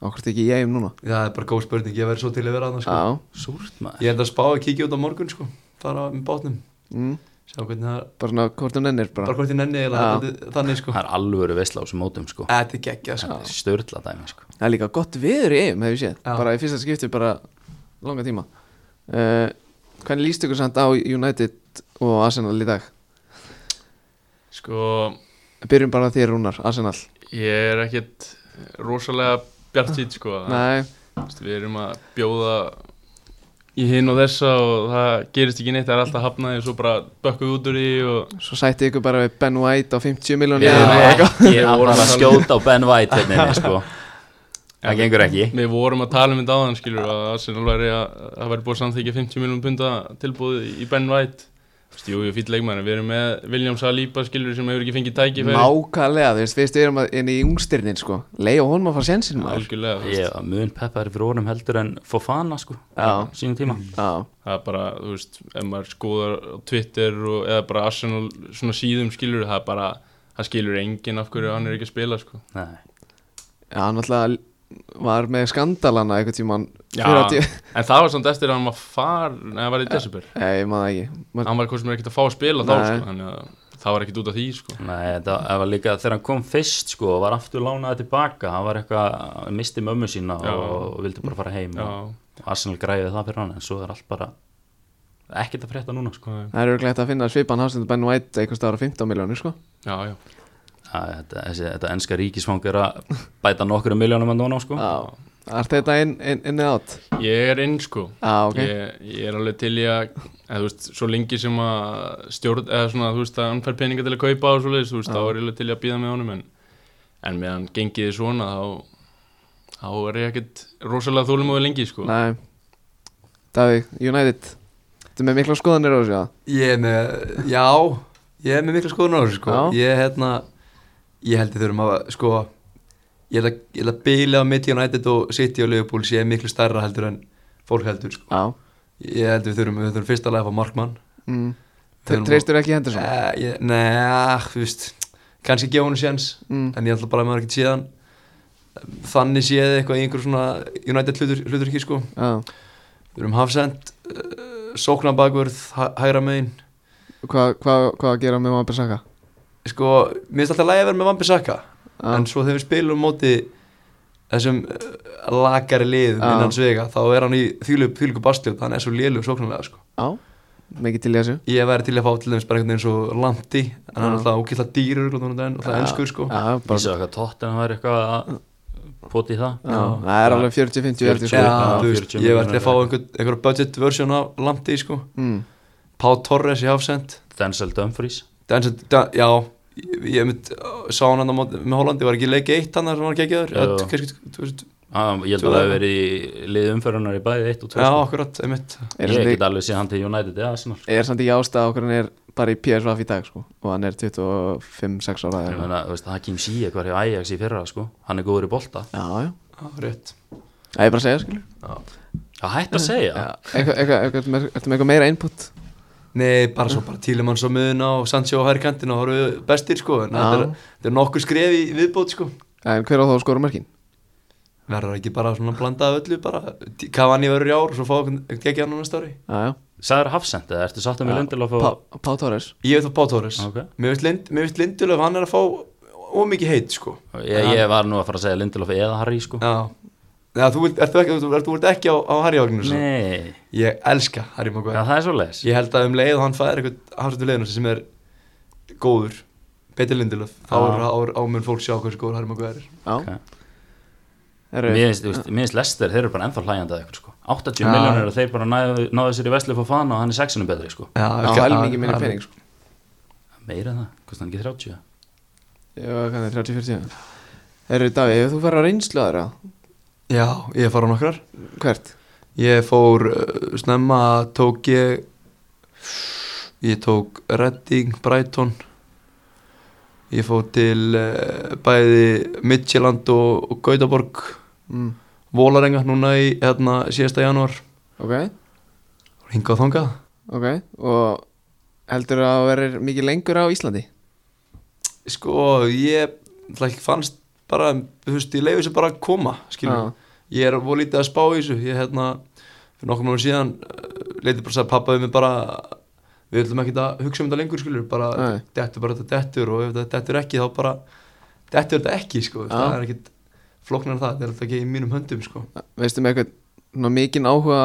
A: Okkur ekki í eigum núna?
C: það er bara góð spurning Ég verði svo til að vera hann sko
A: Já,
B: Súrt maður
C: Ég held að spá að kíkja út á morgun sko Fara með bátnum
A: mm,
C: Sjá hvernig það
A: bara svona hvort þú nennir
C: Bara
A: bara
C: hvort ég nenni
A: Já.
C: eiginlega, þetta- Þannig sko
B: Það er alvöru veistla á þessum mótum sko.
C: Þetta er geggjað sko
B: Það er Störla dæmi sko.
A: Það er líka gott viður í eigum, hefur ég séð
C: Já.
A: Bara í fyrsta skipti, bara langa tíma uh, Hvernig líst ykkur samt á United og Arsenal í dag?
D: sko,
A: Byrjum bara á þér Rúnar, Arsenal
D: ég er ekkert rosalega bjartýtt sko
A: Nei,
D: Þú veist, Við erum að bjóða í hinn og þessa og það gerist ekki neitt, það er alltaf hafnaði og svo bara bökkum við út úr því og
A: svo sætti ykkur bara við Ben White á 50 miljónir
B: Við erum
D: Já.
B: ekki
D: Ég
B: að
D: voru
B: fara að
D: að-
B: skjóta á Ben White hérna, inni, sko. það gengur ekki
D: Við vorum að tala um þetta áðan skilur að Arsenal væri að það væri búið að samþykja 50 miljón punda tilbúið í Ben White Þú veist, Jú, ég fýtt leikmæri, við erum með William Saliba skilur sem hefur ekki fengið tækifæri
A: Nákvæmlega, þú veist, við styrum að inn í ungstirnin sko, leiða honum að fara sensin maður
D: Algjörlega, þú veist,
B: Ég var mun peppaður fyrir honum heldur en Fofana sko,
A: Já.
B: sínum tíma
A: Já,
D: það er bara, þú veist, ef maður skoðar á Twitter og, eða bara Arsenal svona síðum skilur, það er bara það skilur enginn af hverju hann er ekki að spila sko.
B: Nei,
A: Já, hann alltaf var með skandalana einhvern tíman
D: Já, en það var samt eftir að hann var far neða, það var í desember,
A: Nei, ég maður ekki maður,
D: hann var hvað sem er ekkert að fá að spila þá,
A: Nei.
D: sko, þannig að það var ekkert út af því, sko
B: Nei það, það var líka þegar hann kom fyrst sko, og var aftur lánaði tilbaka hann var eitthvað, hann misti mömmu sína
D: Já.
B: og vildi bara fara heim
D: Já,
B: og Arsenal græði það fyrir hann en svo er allt bara ekkert að frétta núna sko.
A: Það eru glætt að finna svipan hafsendur Ben White einhvers staðar á 15 miljónir sko
D: já, já
B: það, þetta, þessi, þetta enska ríkisfang er að bæta nokkru miljónum en núna sko.
A: Já, allt þetta inn, inn, inn eða átt
D: Ég er inn, sko
A: Já, ok
D: ég, ég er alveg til í að, eða, þú veist, svo lengi sem að stjórn, eða svona, þú veist, að hann fær peninga til að kaupa og svo leiðis, þú veist, þá er ég alveg til í að býða með honum, en, en meðan gengiði svona, þá, þá er ég ekkert rosalega þólumóði lengi, sko.
A: Nei Davík, United Þetta með mikla skoðanir á þessu, já
C: Ég er með, já Ég er með mikla skoðun á þessu sko
A: Já.
C: Ég hérna, ég held að þurfum að sko, ég held að, ég held að bíla á milli United og City og Liverpool sé miklu stærra heldur en fólk heldur sko
A: Já
C: Ég held að við þurfum, við þurfum fyrst að læfa markmann
A: mm.
C: Við erum-
A: Treystur ekki hendur svo
C: Eh, ég- Nei, þú veist kannski gefa hún séns
A: Mm.
C: en ég ætla bara að maður ekki séðan þannig séð eitthvað í einhver svona United hlutur, hlutur ekki sko
A: Já
C: við erum hafsend, uh, sóknabakvörð hæ- hægra megin
A: Hvað hva, hva að gera með maður besaka?
C: sko, mér finnst alltaf lægi að vera með Vambi Saka en svo þegar við spilum móti þessum uh, lakari lið
A: Já.
C: innan svega, þá er hann í þvílu, þvílu bastljóð, hann er svo lélu sóknarlega sko.
A: Já Mikið til í þessu
C: ég væri til að fá til dæmis bara einhvern veginn svo lanti, en hann
A: Já.
C: er alltaf ókilla dýrur og það er
A: Já.
C: ennskur sko
A: Já, bara
B: Vísa okkar tótt en það er eitthvað að poti í það
A: Já, það er alveg 40-50 eftir sko
C: Já,
B: Já,
C: þú veist,
B: 40
C: ég var til að fá
B: milljónir.
C: einhver, einhver budget version af Lamdi, sko
A: mm.
C: Pá Torres í hafsend
B: Denzel Dumfries
C: Denzel, da, já, ég, ég mynd, sá hann hann með Hollandi, var ekki leik eitt hann þar sem hann geggjaður,
B: Jú.
C: eða kannski, þú veist
B: ah, ég held að það hefur verið í lið umferðunar í bæði 1 og 2
C: Já,
B: sko.
C: akkurat, einmitt
A: Er
B: ég
A: samt
B: get
A: ekki-
B: alveg séð hann til United eða Arsenal
A: er samt ekki ástæða okkur hann er bara í PSVF í dag sko og hann er 25-6 ára
B: Ég
A: eða eitthvað.
B: meina, þú veist, Hakim Ziyech var hjá Ajax í fyrra sko. hann er góður í bolta
A: Já, já
C: Já, rétt
A: Það er bara að segja skilur
B: það hætti að segja
A: Eitthvað, eitthvað, eitthvað, ertu með- ertu með eitthvað meira input?
C: Nei, bara svo bara Tílemann svo miðuna og Sancho á hæri kantin og horfðu bestir, sko en
A: Já.
C: þetta er, þetta er nokkur skref í viðbót, sko
A: En hver á þá að skora mörkin?
C: Verður ekki bara svona blandað öllu, bara Cavani verður í ár, svo fá einhvern geggjaðan á næsta ári
A: Já, já
B: sagður Hafsend eða ertu sattum
A: Já,
B: með Lindelof og...
A: Pá- Pá Torres
C: Ég veit þá Pá Torres
B: Ok.
C: Mér veist Lind- mér finnst Lindulöf, hann er að fá ómikið heit, sko
B: ég, ég var nú að fara að segja Lindelof eða Harry sko.
C: Já, Já þú vilt, ert þú ekki, ert, þú vilt ekki á, á Harry Magnús
B: nei,
C: Ég elska Harry
B: já,
C: Maguire
B: það er svo leiðis
C: Ég held að um leið og hann fæðir eitthvað hafsættu leiðinu sem er góður Petir Lindelöf Þá
B: Já.
C: er áur ámun fólk sjá hversu góður Harry Maguire er
A: Já
B: Ok.
A: Herru,
B: mér finnst- þú veist, mér finnst Lester, þeir eru bara ennþá hlægjandi að eitthvað sko. 80
A: Já.
B: miljónir og þeir bara náðu, náðu sér í Vestlif og Fana og hann er 6 betri sko.
A: á helmingi minni pening sko
B: meira en það, kostar hann ekki 30
A: Já, hvað er 30-40 Herru, Davíð, ef þú fer á reynslu aðra
C: Já, ég fór á nokkrar
A: Hvert?
C: Ég fór uh, snemma tók ég Ég tók Redding, Brighton Ég fór til uh, bæði Midtjylland og, og Gautaborg
A: Mm.
C: Vólarenga núna í hérna, síðasta janúar
A: Ok,
C: Hinga og þangað
A: ok Og heldur að það verður mikið lengur á Íslandi?
C: Sko, ég ætla ekki fannst bara, þú veist, ég leiði þessu bara að koma, skilur. Ég er voru lítið að spá í þessu, ég hérna, fyrir nokkur mánu síðan, uh, leiti bara að segja pappa við mig bara, við ætlum ekki að hugsa um þetta lengur, skilur, bara,
A: Nei.
C: dettur bara þetta dettur og ef þetta dettur ekki, þá bara, dettur þetta ekki, sko,
A: Já.
C: það er ekkit flóknar en það, þetta er alltaf ekki í mínum höndum, sko.
A: Veistu með eitthvað svona mikinn áhuga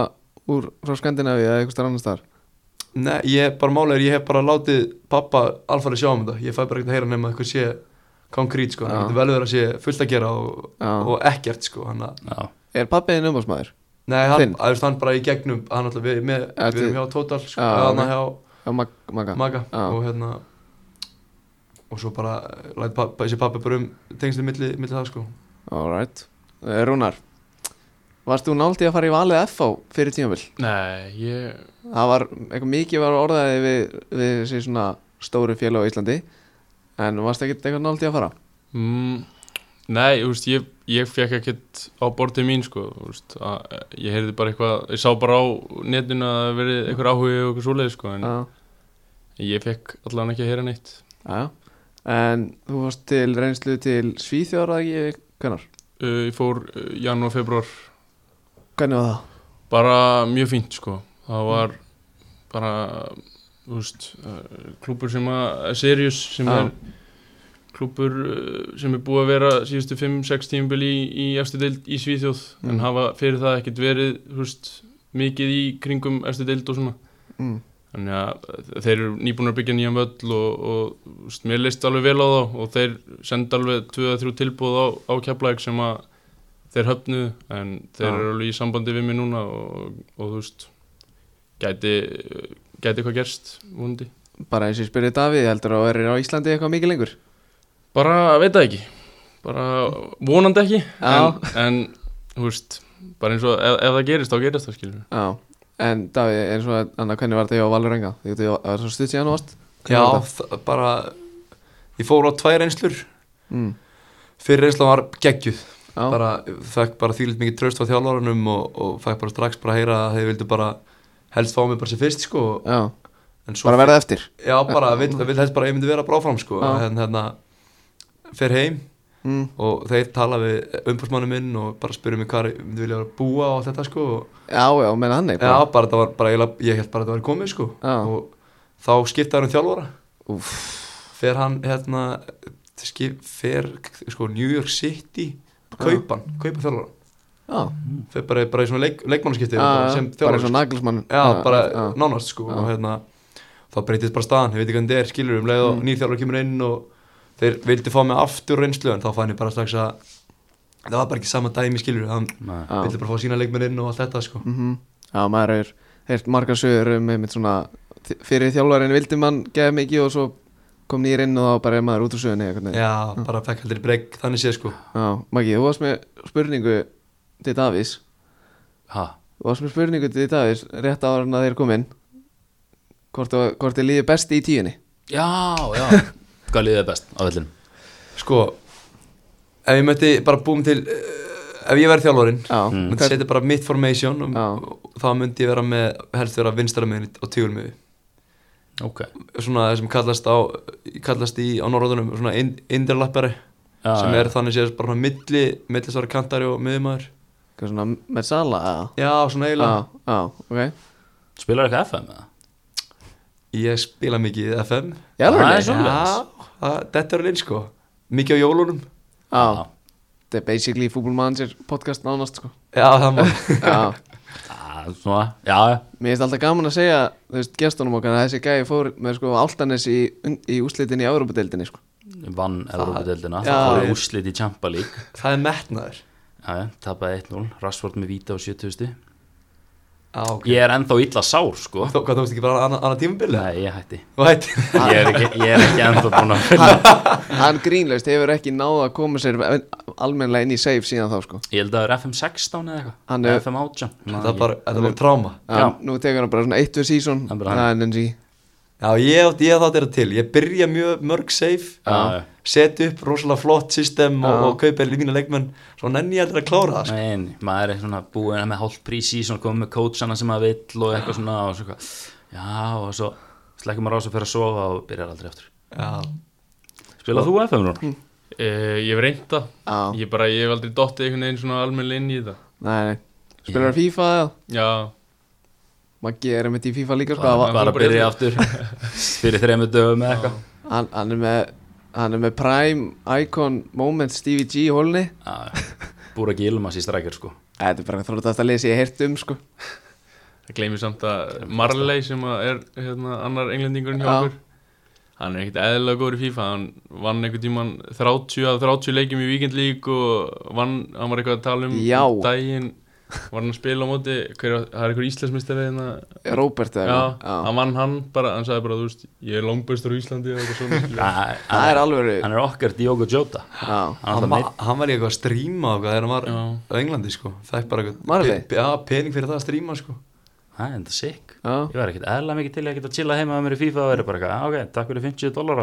A: úr frá Skandinavíu eða eitthvað annars þar?
C: Nei, ég bara málega er, ég hef bara látið pappa alfarið sjá um þetta, ég fæ bara ekkert að heyra nema eitthvað sé konkrít, sko,
A: Já.
C: það getur vel verið að sé fullt að gera og,
A: Já.
C: og ekkert, sko, hann að
B: já,
A: Er pappiðin umbásmaður?
C: Nei, hann,
A: Þinn?
C: að, þú veist, hann bara í gegnum hann alltaf, við, með,
A: Ja,
C: við erum
A: þið-
C: hjá Total sko,
A: Já,
C: ah, okay.
A: Já, mag maga
C: hjá Maga
A: Já.
C: og hérna og svo bara eh, læt pappa, þessi pappi bara um tengslið milli, milli það sko
A: Alright Eh, Rúnar, varst þú nált í að fara í valið FH fyrir tímabil?
D: Nei, ég
A: Það var, eitthvað mikið var orðaði við, við þessi svona stóru félag á Íslandi en varst ekkert eitthvað nált í að fara?
D: mm, Nei, þú veist, ég, ég fekk ekkert á bortið mín sko, þú veist, að, ég heyrði bara eitthvað, ég sá bara á netinu að það verið eitthvað áhugi og eitthvað svoleið sko, en
A: Já,
D: ég fekk allavega ekki að heyra neitt
A: já En þú varst til reynslu til Svíþjóra, ekki? Hvernar?
D: uh, Ég fór uh, janúar, februar
A: Hvernig var það?
D: bara mjög fínt sko það var bara þú veist, uh, klúpur sem að Sirius sem
A: Já.
D: er klúpur uh, sem er búið að vera síðustu 5-6 tímbil í, í efstu deild í Svíþjóð
A: Mm.
D: en hafa fyrir það ekkert verið þú veist, mikið í kringum efstu deild og svona
A: Mm.
D: þannig að eh, þeir eru nýbúin að byggja nýjan völl og, og þú veist, mér leist alveg vel á þá og þeir senda alveg 2-3 tilbúð á, á keflæk sem að þeir höfnu en þeir
A: Já.
D: eru alveg í sambandi við mig núna og, og þú veist gæti, gæti eitthvað gerst vundi.
A: Bara eins og ég spurði Davíð, heldur að verið á Íslandi eitthvað mikið lengur?
D: bara veit það ekki bara vonandi ekki
A: Já.
D: en, en þú veist bara eins og ef, ef það gerist þá gerist það skilur
A: Já, en Davíð, eins og að, Anna, hvernig var þetta hjá Valur Enga? Þú veit, það var svo stutt síðan þú varst? Hvernig
C: Já,
A: var þetta?
C: það- bara Ég fór á tvær reynslur
A: Mm.
C: Fyrir reynsla var geggjuð
A: Já,
C: bara, Fekk bara þýlitt mikið tröst á þjálfaranum og, og fekk bara strax bara að heyra að þeir vildu bara helst fá mig bara sem fyrst sko
A: já,
C: En svo
A: bara verða eftir
C: Já, bara, vill, vill helst bara að ég myndi vera bara áfram sko
A: Já.
C: En hérna, fer heim
A: mm.
C: og þeir tala við umbúrsmannum minn og bara spyrja mig hvað ég myndi vilja vera að búa og allt þetta sko og,
A: Já, já, menn hann er
C: Já, bara þetta var, bara, eiginlega- ég held bara að þetta var komið sko
A: Já.
C: og þá skiptaði hann um þjálfara
A: Úff.
C: fer hann, hérna skip, fer, sko, New York City kaupan, kaupa þjálfara
A: Já,
C: fer bara, bara í svona leik, leikmannaskipti
A: já,
C: bara
A: já, bara
C: sem
A: eins og
C: þjálfara sko.
A: naglismann
C: Já, bara
A: já,
C: nánast sko
A: Já.
C: og hérna, þá breytist bara staðan, ég veit ekki hvernig þetta er, skilur um leið og
A: Mm.
C: mm. nýr þjálfara kemur inn og þeir vildi fá mig aftur reynslu en þá fann ég bara strax að það var bara ekki sama dæmi skilur, hann
B: Nei.
A: já.
C: vildi bara fá sína leikmenn inn og allt þetta sko
A: Mm já, maður er heilt margar sögur um einmitt svona þ- fyrir þjálfarinn vildi mann geða mikið og svo kom nýr inn og þá bara er maður út úr sögunni einhvern veginn.
C: Já, bara fekk heldur breg þannig séð sko
A: Já, Maggi, þú varst með spurningu til Davís
B: Ha,
A: Þú varst með spurningu til Davís rétt ára en að þeir kom inn hvort, þú- hvort þið líði besti í tíunni
B: já, já Hvað liðið er best á vellinum?
C: Sko, ef ég mötti bara búum til eh, Ef ég verði þjálfarinn
A: Já,
B: Mm.
C: myndi setja bara mitt formation og,
A: Já.
C: og þá myndi ég vera með helst vera vinstra miðin og tígulmiði
B: Ok
C: svona það sem kallast á kallast í á norðunum svona inderlappari
B: já,
C: sem
B: já.
C: er þannig séð bara milli millisvara kantari og miðumæður
A: hvað svona með sala eða?
C: já svona eiginlega
A: Já, já, ok
B: Spilar eitthvað FM eða?
C: ég spila mikið í FM
A: Já,
B: Það er
A: alveg.
B: svo. Svoleiðis?
C: já það- þetta er alveg sko mikið á jólunum
A: já, þetta er basically fútbolmanager podcast nánast sko
C: já það má
A: Já
B: Já, Ah, svona, já,
A: Mér finnst alltaf gaman að segja, þú veist, gestunum okkar að þessi gæði fór með sko áltanis í, í úslitin í Európa-deildinni sko.
B: já Vann Európa-deldina
A: Já.
B: Það var úrslit í Champa League
C: það er metnaður
B: Já, já, tapaði 1-0 Rashford með víta á 70
C: já ok
B: Ég er ennþá illa sár, sko
C: Þó, hvað tókst ekki bara annað anna tímabili?
B: Nei, ég hætti
C: Væt,
B: Ég er ekki, ég er ekki ennþá búin að finna
A: Hann grínlaust hefur ekki náða að koma sér almennilega inn í safe síðan þá sko.
B: Ég held að það er FM 16 eða
A: Hann
B: eitthvað
A: er-
B: FM 18
C: þetta var bara, þetta var tráma
A: Já.
B: Já.
A: Nú tekur hann bara svona eitt við season,
B: Það er bara
A: það
B: hann.
A: er nensi.
C: Já, ég átt, ég átt þetta til, ég byrja mjög mörg safe
B: Já.
C: setja upp rosalega flott system og,
A: Já.
C: og kaupa í mínu leikmenn svo nenni ég aldrei að klára það sko.
B: Nein, maður er svona búin með hálf prísísón komið með kótsana sem maður vill og eitthvað svona og svo hvað Já, og svo slekkum maður á svo fyrir að sofa og byrjar aldrei aftur
C: Já,
B: Spilað þú FM núna?
A: Mm.
D: uh, ég hef reynda
A: Já.
D: ég bara, ég hef aldrei dottið einhvern veginn svona almennilega inn í þetta
A: Nei, nei. Spilar yeah. FIFA eða?
D: já,
A: Maggi er með í FIFA líka sko.
B: Bara,
A: Hann,
B: bara byrja aftur fyrir þremur dögum eða eitthvað
A: hann, hann er með hann er með Prime Icon Moment Stevie G í hólni.
B: Já, Búra ekki ilmas í strækjur sko
A: Þetta er bara þróttast að lesa ég heyrt um sko.
D: Það gleymir samt að Marley sem að er hérna, annar englendingurinn hjá
A: Já.
D: okkur hann er ekkert eðlilega góður í FIFA hann vann einhvern tíman 30 af 30 leikjum í Weekend League og vann, hann var eitthvað að tala um
A: Já.
D: daginn var hann að spila á móti hver, var- það er einhver íslensmistari hérna
A: Róbert eða
D: já,
A: eitthvað.
D: hann vann hann bara, hann sagði bara, þú veist ég er langbæstur á Íslandi og eitthvað svona skilur.
A: Það er
B: hann
A: alveg
B: er okkar Diogo Jota
A: Já,
B: hann
C: Hann,
B: er
C: var-
B: alltaf
C: hann var í eitthvað að stríma og þegar hann var
D: Já.
C: á Englandi sko Fæk bara eitthvað
A: Var það?
C: pe- Já, pening fyrir það að stríma sko
B: það er enda sick
A: já
B: ég var ekkert eðla mikið til í að geta chilla heima með mér í FIFA og verið bara eitthvað, "Ah, ok, takk fyrir 50 dólar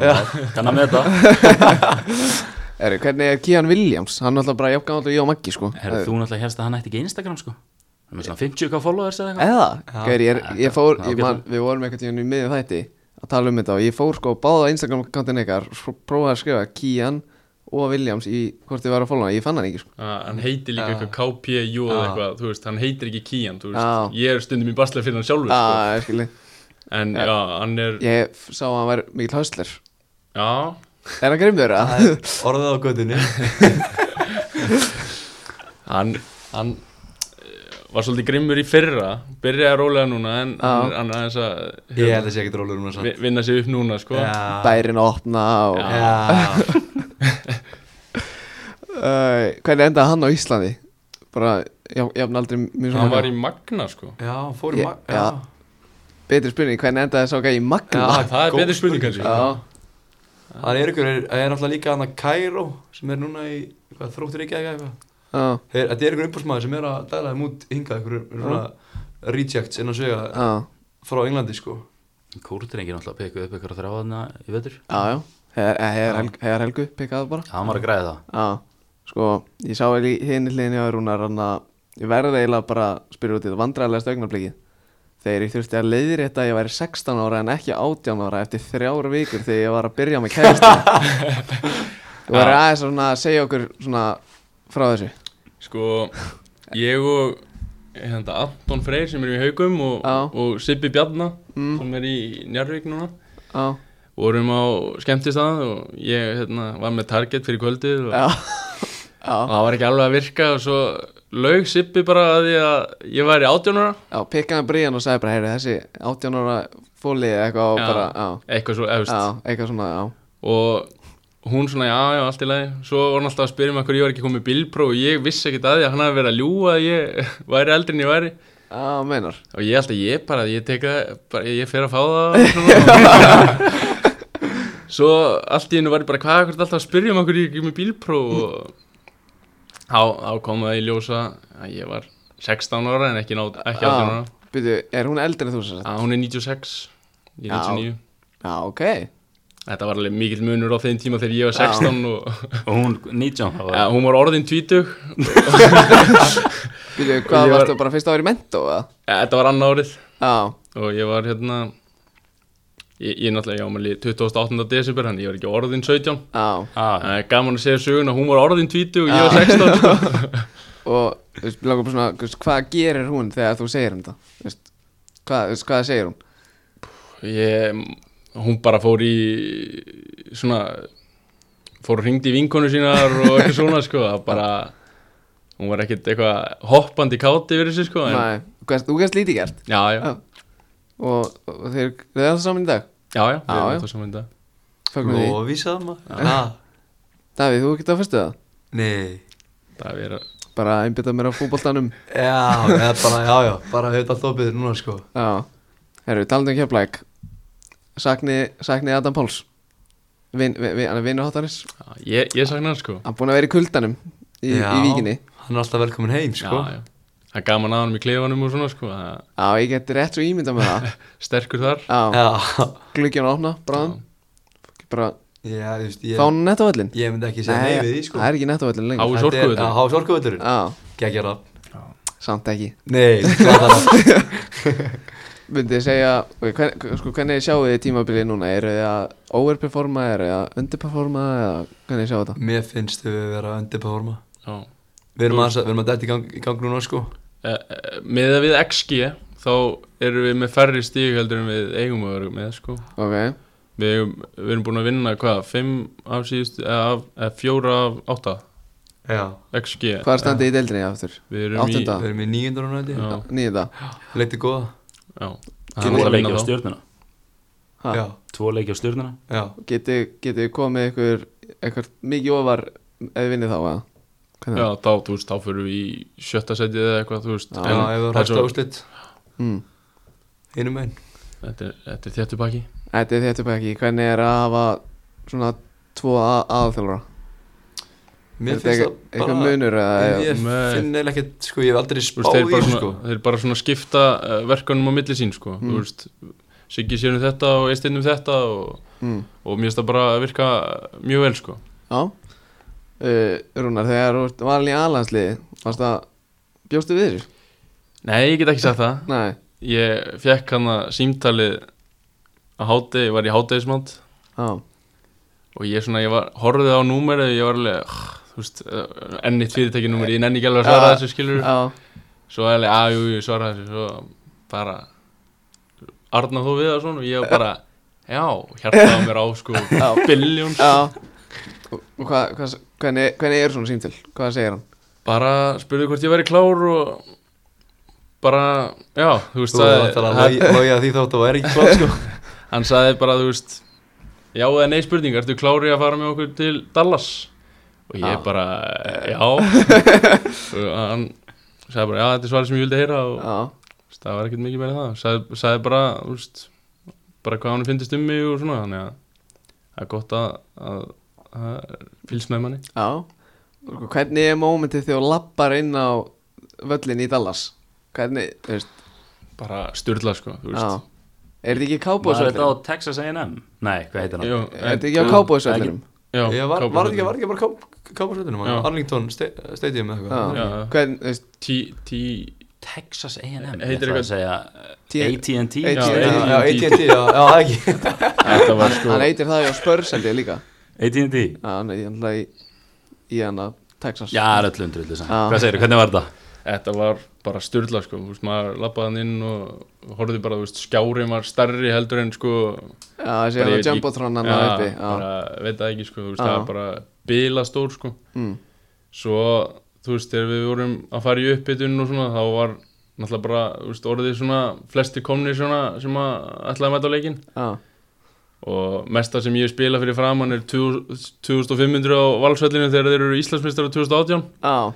B: kann að meta
A: Erri, hvernig er Kian Williams? Hann er alltaf bara jafngáðan og ég og Maggi sko
B: Herra, þú náttúrulega helst að hann ætti ekki Instagram sko hann er með svona 50k followers eða eitthvað
A: Eða,
C: Já.
A: Gæri, ég, er- ég fór,
B: Já,
A: ég
B: getur.
A: man, við vorum einhvern tíðan í miðjum þætti að tala um þetta og ég fór sko báða Instagram kantin ykkar, svo prófaði að skrifa Kian og Williams í hvort þið var að fólga ég fann hann ekki sko
D: Ah, hann heitir líka
C: Já.
D: eitthvað KPU eða
C: Já.
D: eitthvað, þú veist, hann heitir ekki Kían þú
A: Já.
D: veist, ég er stundum í basla fyrir hann sjálfur sko.
A: Já, Ah, ég skilji,
D: en já, hann er
A: ég f- sá að hann var mikil höstler
D: já,
A: Er hann grimmur að?
C: Það er Orðið á göttinni
D: hann, hann eh, var svolítið grimmur í fyrra byrjaði að rólega núna en hann er- hann er aðeins að hérna,
C: Ég held að sé ekkert rólur um það
D: vi- vinna sig upp núna sko.
C: Já,
A: Bærin að opna og
C: já
A: uh, Hvernig endaði hann á Íslandi? Bara, já, jafn aldrei mjög
D: hann var í Magna sko.
C: Já, hann fór í
A: Ég-
C: mag
A: já. Betri spurning, hvernig endaði sá gæði í Magna?
D: Já. það er
C: góð
D: betri spurning, kannski.
A: Ah, Já,
C: Það er ykkur, það er náttúrulega líka hann að Kairó sem er núna í hvað, þróttur ekki eða eitthvað
A: já,
C: Þeir- Þetta er ykkur umbúrsmaður sem er að dæla þeim út hingað ykkur svona rejects innan svega
A: já,
C: frá Englandi sko
B: kúrdrengir náttúrulega pekuð upp ykkur að þráðna í vetur
A: já, já. eh, Hegar, hegar, helgu, hegar helgu, pikkaði bara
B: hann var að græða það
A: Já, sko, ég sá í hinn hliðinni á Rúnar hann að ég verði eiginlega bara að spyrja út í þetta vandræðilega stögnarblikið þegar ég þurfti að leiðir þetta að ég væri 16 ára en ekki 18 ára eftir þrjár vikur þegar ég var að byrja með kæristu Þú verður aðeins svona að segja okkur svona frá þessu
D: sko ég og hérna, Anton Freyr sem er í Haugum og,
A: Já.
D: og Sibbi Bjarnar
A: Mm.
D: sem er í Njarvík núna
A: Já,
D: vorum á skemmtistað og ég hérna, var með target fyrir kvöldið og,
A: já,
D: og það var ekki alveg að virka og svo laug Sibbi bara að ég, að ég væri átjónara
A: já, pikkaði bríðan og sagði bara, heyri, þessi 18 ára fólið eða eitthvað og
D: Já.
A: bara, já,
D: eitthvað svo efst
A: já, eitthvað svona, já
D: og hún svona já, já, allt í lagi svo var hann alltaf að spyrja mig hverju ég var ekki komið bílpró og ég vissi ekkert að því að hann hafi verið að ljúga að ég væri eldri en ég væri
A: Já, meinar
D: og ég alltaf, ég bara, ég tek það bara, ég fer að fá það og svona. svo allt í hennu var ég bara, hvað er alltaf að spyrja mig hverju ég er ekki komið bílpró og þá, þá kom það í ljósa að ég var 16 ára en ekki, ná, ekki 18 ára
A: Býtu, Ah, er hún eldri en þú sér þetta?
D: að hún er 96 ég er
A: Já.
D: 99
A: Já, ok
D: Þetta var alveg mikill munur á þeim tíma þegar ég var 16 og
B: og hún 19 það var-
D: ja, hún var orðin 20
A: Býtu, hvað
D: Ég var-
A: varstu bara fyrst ári í mentó, eða?
D: Ja, Þetta var annað árið
A: Já,
D: og ég var hérna ég, ég náttúrulega, ég ámæli 28. desember þannig ég var ekki orðin 17
A: já
B: Ah,
D: Það er gaman að segja söguna, hún var orðin 20 og ég var sko. 16
A: Og, þú veist, langar bara svona, þú veist, hvað gerir hún þegar þú segir um það? Þú veist, hvað, þú veist, hvað segir hún?
D: ég, Hún bara fór í svona fór og hringdi í vinkonu sínar og eitthvað svona sko það bara, hún var ekkert eitthvað hoppandi káti fyrir þessu sko en,
A: Nei, hvað, þú gæst lítið gert
D: Já, já,
A: Já. og, og þeir, þeir er það saman í dag
D: já, já,
A: Já, já.
D: já, já.
A: Fögnum því
C: Lofísað maður Ha?
A: Davíð, þú getið að fyrstu það?
C: Nei
D: Það er að
A: Bara einbytta mér á fútboltanum
C: Já, eða bara, já, já, bara höfða þopið núna sko
A: Já, Ah. herru, talandi um keflæk Sakni, sakni Adam Páls Vin, vin, vin, hann er vinnur hóttarins
D: Já, Ég, ég sakna hann sko
A: Hann er búin að vera í kuldanum í,
C: já,
A: í víkinni
C: Hann er alltaf velkomin heim sko
D: já, já. Það er gaman að hann í klefanum og svona sko það er
A: Já, ég geti rétt svo ímynda með það
D: Sterkur þar
A: Já,
C: já.
A: gluggjan að opna, bráðum Bara,
C: já þú veist, ég,
A: fá hann netta völlin
C: ég myndi ekki segja
A: Nei,
C: nei við því sko
A: það er ekki nettavöllin lengur
D: Á-
C: Þetta er-
D: Sorguvöllurinn.
C: Já, há sorguvöllurinn
A: Já,
C: Gekjar að
A: samt ekki
C: Nei, kláðar
A: Myndið þið segja, ok, hvern, sko, hvernig sjáu þið tímabilið núna? Eru þið að overperforma, eru þið að underperforma eða hvernig sjáu þetta?
C: Mér finnst við vera að undirperforma
D: Já.
C: Við erum aðeins að, við erum að dætt í gang, í gang núna sko
D: Eh, eh, Með að við XG þá erum við með færri stíg heldur en við eigum að vera með sko
A: Ok,
D: Við, eigum, við erum búin að vinna hvað, 5 af síðust, eða af, eða 4 af 8
C: Já
D: XG
A: hvað er standið í deildinni aftur?
D: Við erum
A: Áttunda.
C: Við erum í nýjöndur núna held
D: í
C: ég
D: Já,
A: Nýða,
C: Leiti góða
D: já
B: það
D: Hann
B: var
D: ætlar að
B: leiki á
D: vinna þá.
B: stjórnuna
A: Ha.
C: Já,
B: tvo leiki á stjórnuna
C: já
A: getið getið þið komið ykkur, ykkur mikið ofar eða vinnið þá, eða? Hvernig?
D: Já, þá, þú veist, þá fyrir við í sjötta setið eða eitthvað, þú veist
A: Já,
C: Já, ef
D: en
C: það er
D: það er
C: hægt
D: svo,
C: á úslit
A: Mm.
C: Einu megin
D: þetta er, þetta er þéttu baki
A: Þetta er þetta bara ekki, hvernig er að hafa svona tvo aðþjálfara?
C: Mér finnst það
A: Eitthvað
C: bara
A: munur eða
C: Ég
D: Nei.
C: finn eða ekkert, sko, ég hef aldrei
D: Þú veist,
C: spáð
D: þeir,
C: í
D: bara
C: þessu,
D: svona,
C: sko
D: þeir bara svona skipta uh, verkanum á milli sín sko.
A: Mm.
D: þú veist, Siggi sér um þetta og Eisteinn um þetta og,
A: Mm.
D: og mér finnst það bara að virka uh, mjög vel sko.
A: Já uh, Rúnar, þegar þú ert valin í aðlandsliði Varst það, bjóstu við þessu?
D: Nei, ég get ekki sagt það
A: Nei,
D: Ég fekk hann að símtalið að hátegi, ég var í hátegismant
A: já,
D: og ég svona, ég var, horfið á númerið og ég var alveg, "Ugh," þú veist uh, ennitt fyrirtækinúmerið, ég nenni ekki alveg að svara
A: Ja.
D: þessu skilur
A: já,
D: svo alveg, að jú, ég svara þessu svo bara Arna þú við það svona og ég var bara já, hjartaði á mér á sko
A: Já.
D: biljón
A: já. Og, og hvað, hvað, hvernig, hvernig er svona símtil? Hvað segir hann?
D: bara spurði hvort ég væri klár og bara, já, þú veist
C: Þú
D: sagði-
C: ætlar að
D: hann,
C: logja- logja því þótt að það er ekki klart, sko
D: hann sagði bara, þú veist já eða nei spurning, ertu klári að fara með okkur til Dallas og ég
A: Já.
D: bara, já og hann sagði bara, já, þetta er svarið sem ég vildi heyra og
A: Já,
D: þú veist, það var ekkert mikið meira en það sagði, sagði bara, þú veist bara hvað hann finnist um mig og svona þannig að það er gott að, að, að fylgst með manni
A: já Og Hvernig er mómentið þegar þú lappar inn á völlin í Dallas? Hvernig, þú veist,
D: bara styrla sko, þú
A: já
D: veist
A: Er þetta ekki
B: Var þetta á
A: kábóðsvöllin?
B: Texas A&M? Nei, hvað heitir hann?
D: Jú,
A: Er
D: en-
A: þetta ekki á kábóðsvöllinum?
D: Já,
C: Ég var,
D: Kópavogur.
C: var ekki, var ekki bara káparsveitinu
D: Já.
C: Arlington sta- Stadium eða eitthvað
D: Já.
A: Hvernig, þú veist,
D: Tí, tí
B: Texas A&M?
D: Heitir
B: Ég ætla
D: eitthvað-
B: að segja
A: T-
B: uh, AT&T?
A: AT&T.
B: Já,
A: Já,
B: já.
C: Já, AT&T, já, já, það ekki
D: Þetta var sko
A: hann eitir það á spörseldi líka
B: AT&T?
A: Já, hann eitir hann í, í hann að Texas
B: Já, öllu undir öllu
A: Já.
B: Hvað segir hvernig var þetta?
D: Þetta var bara styrla sko þú veist, maður lappaði hann inn og horfði bara, þú veist, skjárin var stærri heldur en sko
A: Já, þessi
D: bara,
A: hann
D: ég
A: að
D: veit ekki-
A: Jumbotron hann
D: Já,
A: að uppi Já,
D: bara, veit það ekki sko, þú veist,
A: Já.
D: það var bara bila stór sko
A: mm,
D: Svo, þú veist, þegar við vorum að fara í uppbytun og svona, þá var náttúrulega bara, þú veist, orðið svona flesti komni svona sem að ætlaði að mæta á leikinn
A: já,
D: og mesta sem ég spila fyrir framann er 2500 á valsvellinu þegar þeir eru Íslandsmeistar á 2018
A: já,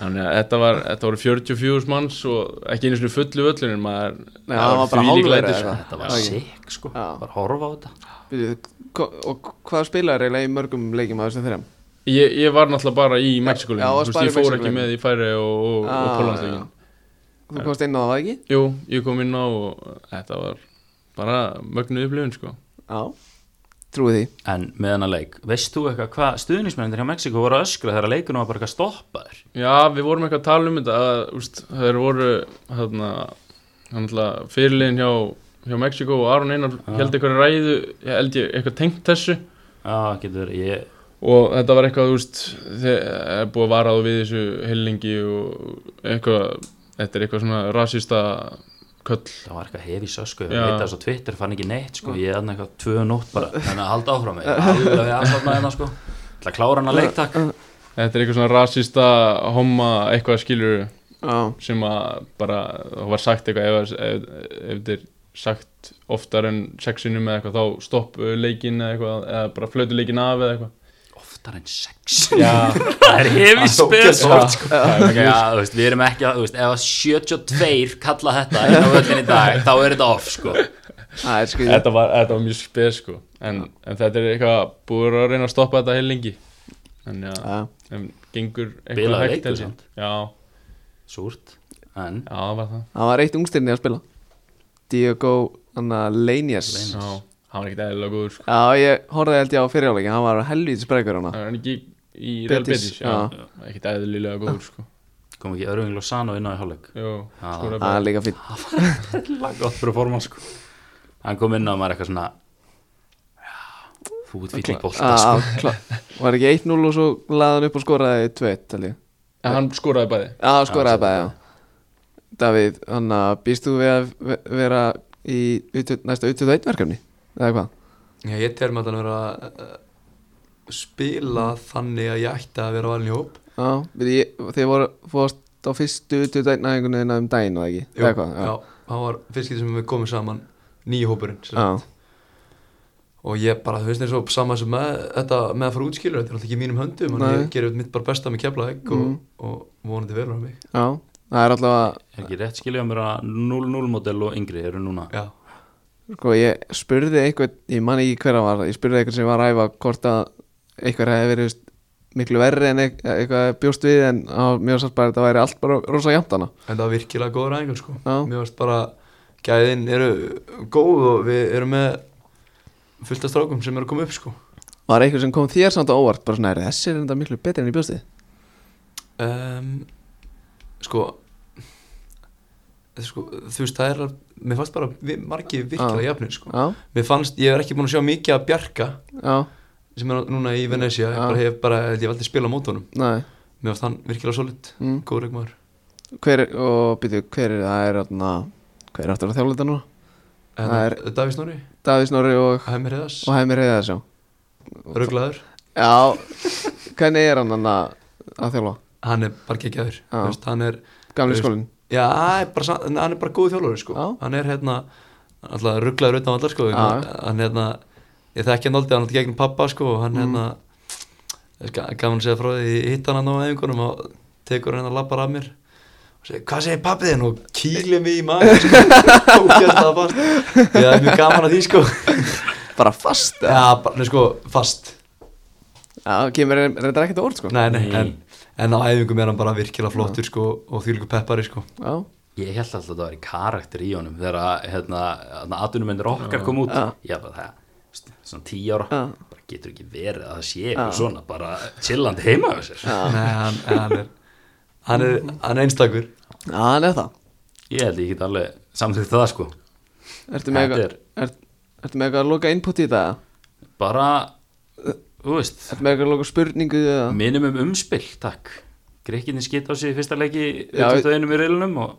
D: Þannig að þetta, var, þetta voru 44 manns og ekki einu svona fullu völlunum maður,
A: Nei, það var bara
D: þvílík
A: hálfverið
D: læti,
A: eða
D: sko.
A: eitthvað.
B: Þetta var
A: Já.
B: sick sko,
A: Ah, Já.
B: bara horfa á þetta
A: Byrju, ko- Og hvað spilaði eiginlega í mörgum leikjum að þessum þreim?
D: ég, ég var náttúrulega bara í Mexikoleik
A: Já, varst bara
D: ég
A: í
D: fór ekki
A: Mexíkóleiknum.
D: með í Færi og, og,
A: Ah,
D: og Pólandsleikin
A: Þú komst inn á það var ekki?
D: Jú, ég kom inn á og þetta var bara mögnu upplifun sko.
A: Já, trúi því
B: En með hennar leik, veist þú eitthvað hvað stuðnismennir hjá Mexiko voru að öskra þegar leikunum var bara eitthvað stoppaður?
D: Já, við vorum eitthvað að tala um þetta að, úst, þeir voru hérna, hérna, fyrirliðin hjá, hjá Mexiko og Aron Einar
B: Já.
D: held eitthvað ræðu, ég held ég eitthvað tengt þessu
B: Já, getur, ég,
D: og þetta var eitthvað, þú veist, þeir er búið að varað við þessu hellingi og eitthvað, þetta er eitthvað svona rasista köll
B: það var eitthvað hefis ösku, ég
D: Já.
B: veit það svo Twitter fann ekki neitt sko, ég er þarna eitthvað tvö nótt bara, þannig að halda áfram mig, alveg aðsatna hérna sko, ætla að klára hennar leiktak.
D: þetta er eitthvað svona rasista homma eitthvað skilur
A: Já,
D: sem að bara, það var sagt eitthvað ef, ef, ef þetta er sagt oftar en sexinum eða eitthvað þá stoppu leikin eða eitthvað eða bara flötu leikin af eða eitthvað
B: Oftar en sex.
D: Já,
B: Það er hefis
C: Það er
B: spes.
C: ógeðslega.
B: Ok, Já, þú veist, við erum ekki að, þú veist, ef að 72 kalla þetta inn á völlin í dag, þá er þetta off sko.
A: það er skriðið
D: þetta var, þetta var mjög spes sko en, en þetta er eitthvað búið að reyna að stoppa þetta heilengi en já,
A: Já,
D: en gengur
B: Bilaður
D: eitthvað hægt
B: leikur
D: held ég.
B: samt.
D: Já,
B: Súrt, en
D: já, það var það
A: það var eitt ungstirni að spila Diego Anna Leinias
B: Leinias.
D: Já, hann var ekkert eðlilega góður sko
A: Já, ég horfði held ég á fyrirjáleikin Hann var helvítið sprekur hana
D: Það var ekki í Real
A: Betis,
D: Betis, já, ekkert eðlilega góður sko
B: kom ekki Örving Lozano inn á í hálfleik.
D: Jó,
B: Já.
D: skoraði
A: Það
D: bara
A: er líka fín
B: Lag gott performance sko Hann kom inn á maður eitthvað svona Já, þú ert fýll í bolta sko
A: Já, klá- Var ekki 1-0 og svo laði hann upp og skoraði 2-1 held ég.
D: En hann skoraði bæði
A: Já, skoraði
B: Já,
A: bara, já Davíð, hann að býst þú við að ve- vera í utu- næsta U21 verkefni? Eða hvað?
C: Já, ég tel með að vera að uh, spila þannig að ég ætti að vera valin í hóp
A: Já, við ég, þið voru fórst á fyrstu U21 næðingunni um daginn og ekki? Eða hvað?
C: já, hann var fyrst getur sem við komum saman nýja hópurinn sem
A: já.
C: sagt. og ég bara, þú veist eins og saman sem með þetta með að fara útskilur, þetta er alltaf ekki í mínum höndum en
A: Nei.
C: ég gerir mitt bara besta með keflaðeg
A: Mm.
C: og, og vonandi velur að mig
A: Já, það er allavega
B: Er ekki rétt skilja mér að 0-0 model og yngri eru núna
C: já,
A: sko ég spurði einhvern, ég man ekki hver að var ég spurði einhvern sem var að æfa hvort að einhver hefði verið veist, miklu verri en eit- eitthvað bjóst við en á, mjög satt bara þetta væri allt bara rosa jantana
C: en það var virkilega góður aðingar sko
A: Já.
C: mér varst bara, gæðin eru góð og við erum með fullt af strákum sem eru að koma upp sko
A: Var eitthvað sem kom þér samt á óvart bara svona, er þessi er enda miklu betri en ég bjóst við
C: um, sko sko, þú veist, það er að- mér fannst bara við, margir virkilega
A: Já.
C: jafnir sko.
A: Já,
C: mér fannst, ég er ekki búin að sjá mikið að bjarga
A: já,
C: sem er núna í Venecia ég
A: Já.
C: bara hef bara, ég hef aldrei spilað á mótunum
A: næ
C: mér fannst hann virkilega solid,
A: mm.
C: góður leikmaður
A: Hver er, og byrju, hver er, það er atna, hver er aftur að þjálfa þetta núna?
C: en
A: Það
C: það
A: er-
C: Davís Nóri,
A: Davís Norri og,
C: Hemir Heðas,
A: og Heimir Heiða sjá
C: Röglaður
A: Já, hvernig er hann anna, að þjálfa?
C: hann er bara geggjaður,
A: Já.
C: þú veist, hann er
A: Gamli
C: Þú veist,
A: skólinn
C: já, hann er bara, sa- en hann er bara góð þjólari sko.
A: Já.
C: hann er hérna alltaf rugglaður utan allar sko.
A: Já.
C: hann hann, hérna, ég þekki hann aldrei, hann er gegnum pappa sko, og hann
A: Mm.
C: hérna ég ga- gaman að segja frá því, ég hitt hann hann á aðeingunum og tekur hann að lappar af mér og segir, hvað segir pappið þinn og kýlir mig í maður sko. ógæðslega fast ég er mjög gaman að því sko
A: Bara fast
C: já, bara, nei, sko, fast
A: Já, kemur reyndar ekkert á orð sko
C: nei, nei,
B: Nei.
C: en, en á æfingum er hann bara virkilega flottur sko, og því líka peppari sko.
A: Já,
B: Ég held alltaf að það var í karakter í honum þegar að, hérna, hérna, atvinnumendur okkar kom út
A: Já.
B: Ég bara það, st- svona 10 ára
A: Já.
B: bara getur ekki verið að það sé eitthvað svona bara chillandi heima á sér
C: nei, hann, hann er hann er, hann er einstakur
A: Já, hann er það
B: Ég held ég get alveg samþýtt það sko
A: Ertu með
B: Þetta
A: eitthvað er, Ertu með eitthvað að loka input í þetta?
B: Bara, þú veist
A: Ertu með eitthvað að loka spurningu eða?
B: Minum um umspill, takk Grekkinni skipt á sig í fyrsta leiki
A: Já,
B: 21 í reilunum og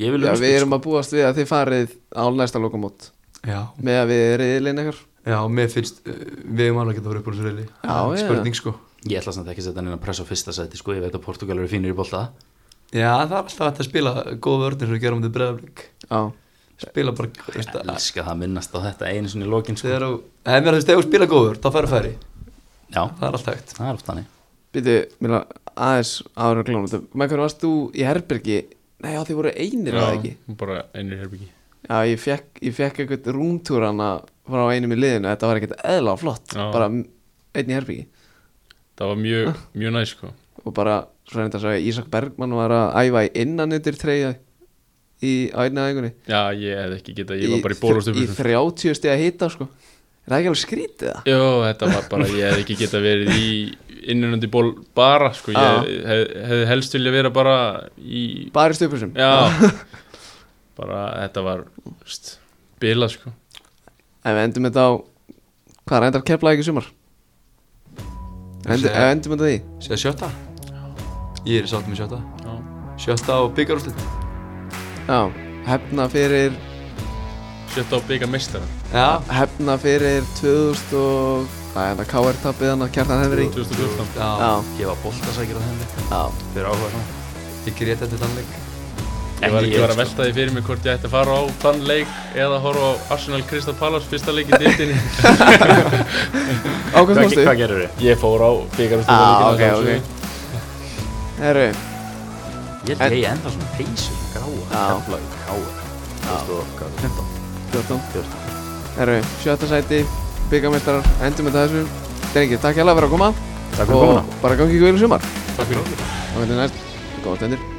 B: ég vil
A: Já,
B: umspill
A: við erum að búast við að þið farið á næsta lokamót
C: já,
A: með að við reyðilegin ekkar
C: Já, mér finnst, uh, við erum alveg að geta að vera upp úr þessu reyli
A: Já,
C: Það er
A: já.
C: Spurning sko
B: Ég ætla samt ekki að setja hann inn að pressa á fyrsta sæti sko, ég veit að Portugal eru fínir í bolta
C: Já, það er alltaf hægt að spila góð vörðin sem við gerum um þetta breðaflik
A: Já,
C: Spila bara, þú veist
B: Ég
C: að
B: elska það að minnast á þetta einu sinni í lokin sko.
C: Þegar þú, ef mér þú veist, ef þú spila góður, þá færi færi
B: Já,
C: Það er alltaf hægt
B: það er oft þannig
A: býtu, mér la- aðeins áður að glóna þetta Með hvernig varst þú í herbergi? Nei, já, þið voru einir eða ekki
D: bara einir herbyggi
A: Já, ég fekk, ég fekk eitthvað rúmtúr hana frá einum í liðinu Þetta var ekkert eðla flott
D: Já.
A: Bara einn í herbergi
D: það var mjög, mjög næ sko
A: og bara svo reynda að segja Ísak Bergmann var að æfa í innan undir treyja í á einni æfingunni
D: já ég hef ekki getað, ég var bara í
A: í
D: bólustöfum
A: 30 stið að hita sko er það ekki alveg skrítið það?
D: Jó, þetta var bara, ég hef ekki getað verið í innunandi ból bara sko,
A: Já.
D: ég hef, hef helst vilja vera bara í,
A: bara í stöpusum
D: já bara þetta var st, bila sko
A: ef við endum þetta á hvað reyndar keflaði ekki sumar? End,
C: Þessi-
A: ef við endum þetta á því
C: Sér sjötta Ég er sátt með sjötta
D: já.
C: Sjötta og byggarúslit
A: já, hefna fyrir
D: sjötta á bygga meistara
C: Já,
A: hefna fyrir 2000 og hvað er það, KR tappið hann að kjartan hefri
D: 2014
C: já,
A: já,
B: Ég var boltasækir á þeim leik
A: já,
B: fyrir áhuga svona
C: ég gréti eftir þann leik
D: Ég var ekki að vera að
B: sko.
D: velta því fyrir mig hvort ég ætti að fara á þann leik eða horfa á Arsenal Crystal Palace fyrsta leik í dildinni
A: á hvað
B: Hvað,
A: fórstu?
B: hvað gerur þið?
D: Ég fór á byggarústu
A: Já, ok, ok herru,
B: Ég held ég eigi enda svona peysu gráa
A: Já.
B: Keflavík, Káa 2015
A: 14
B: 14.
A: Herru, sjötta sæti, byggamestrar, endum þetta þessu. Drengi, takk hérlega fyrir að koma
B: Takk fyrir komuna
A: og bara gangi ykkur vel í sumar.
D: Takk fyrir
A: Þá veitum við næst, góða stendur.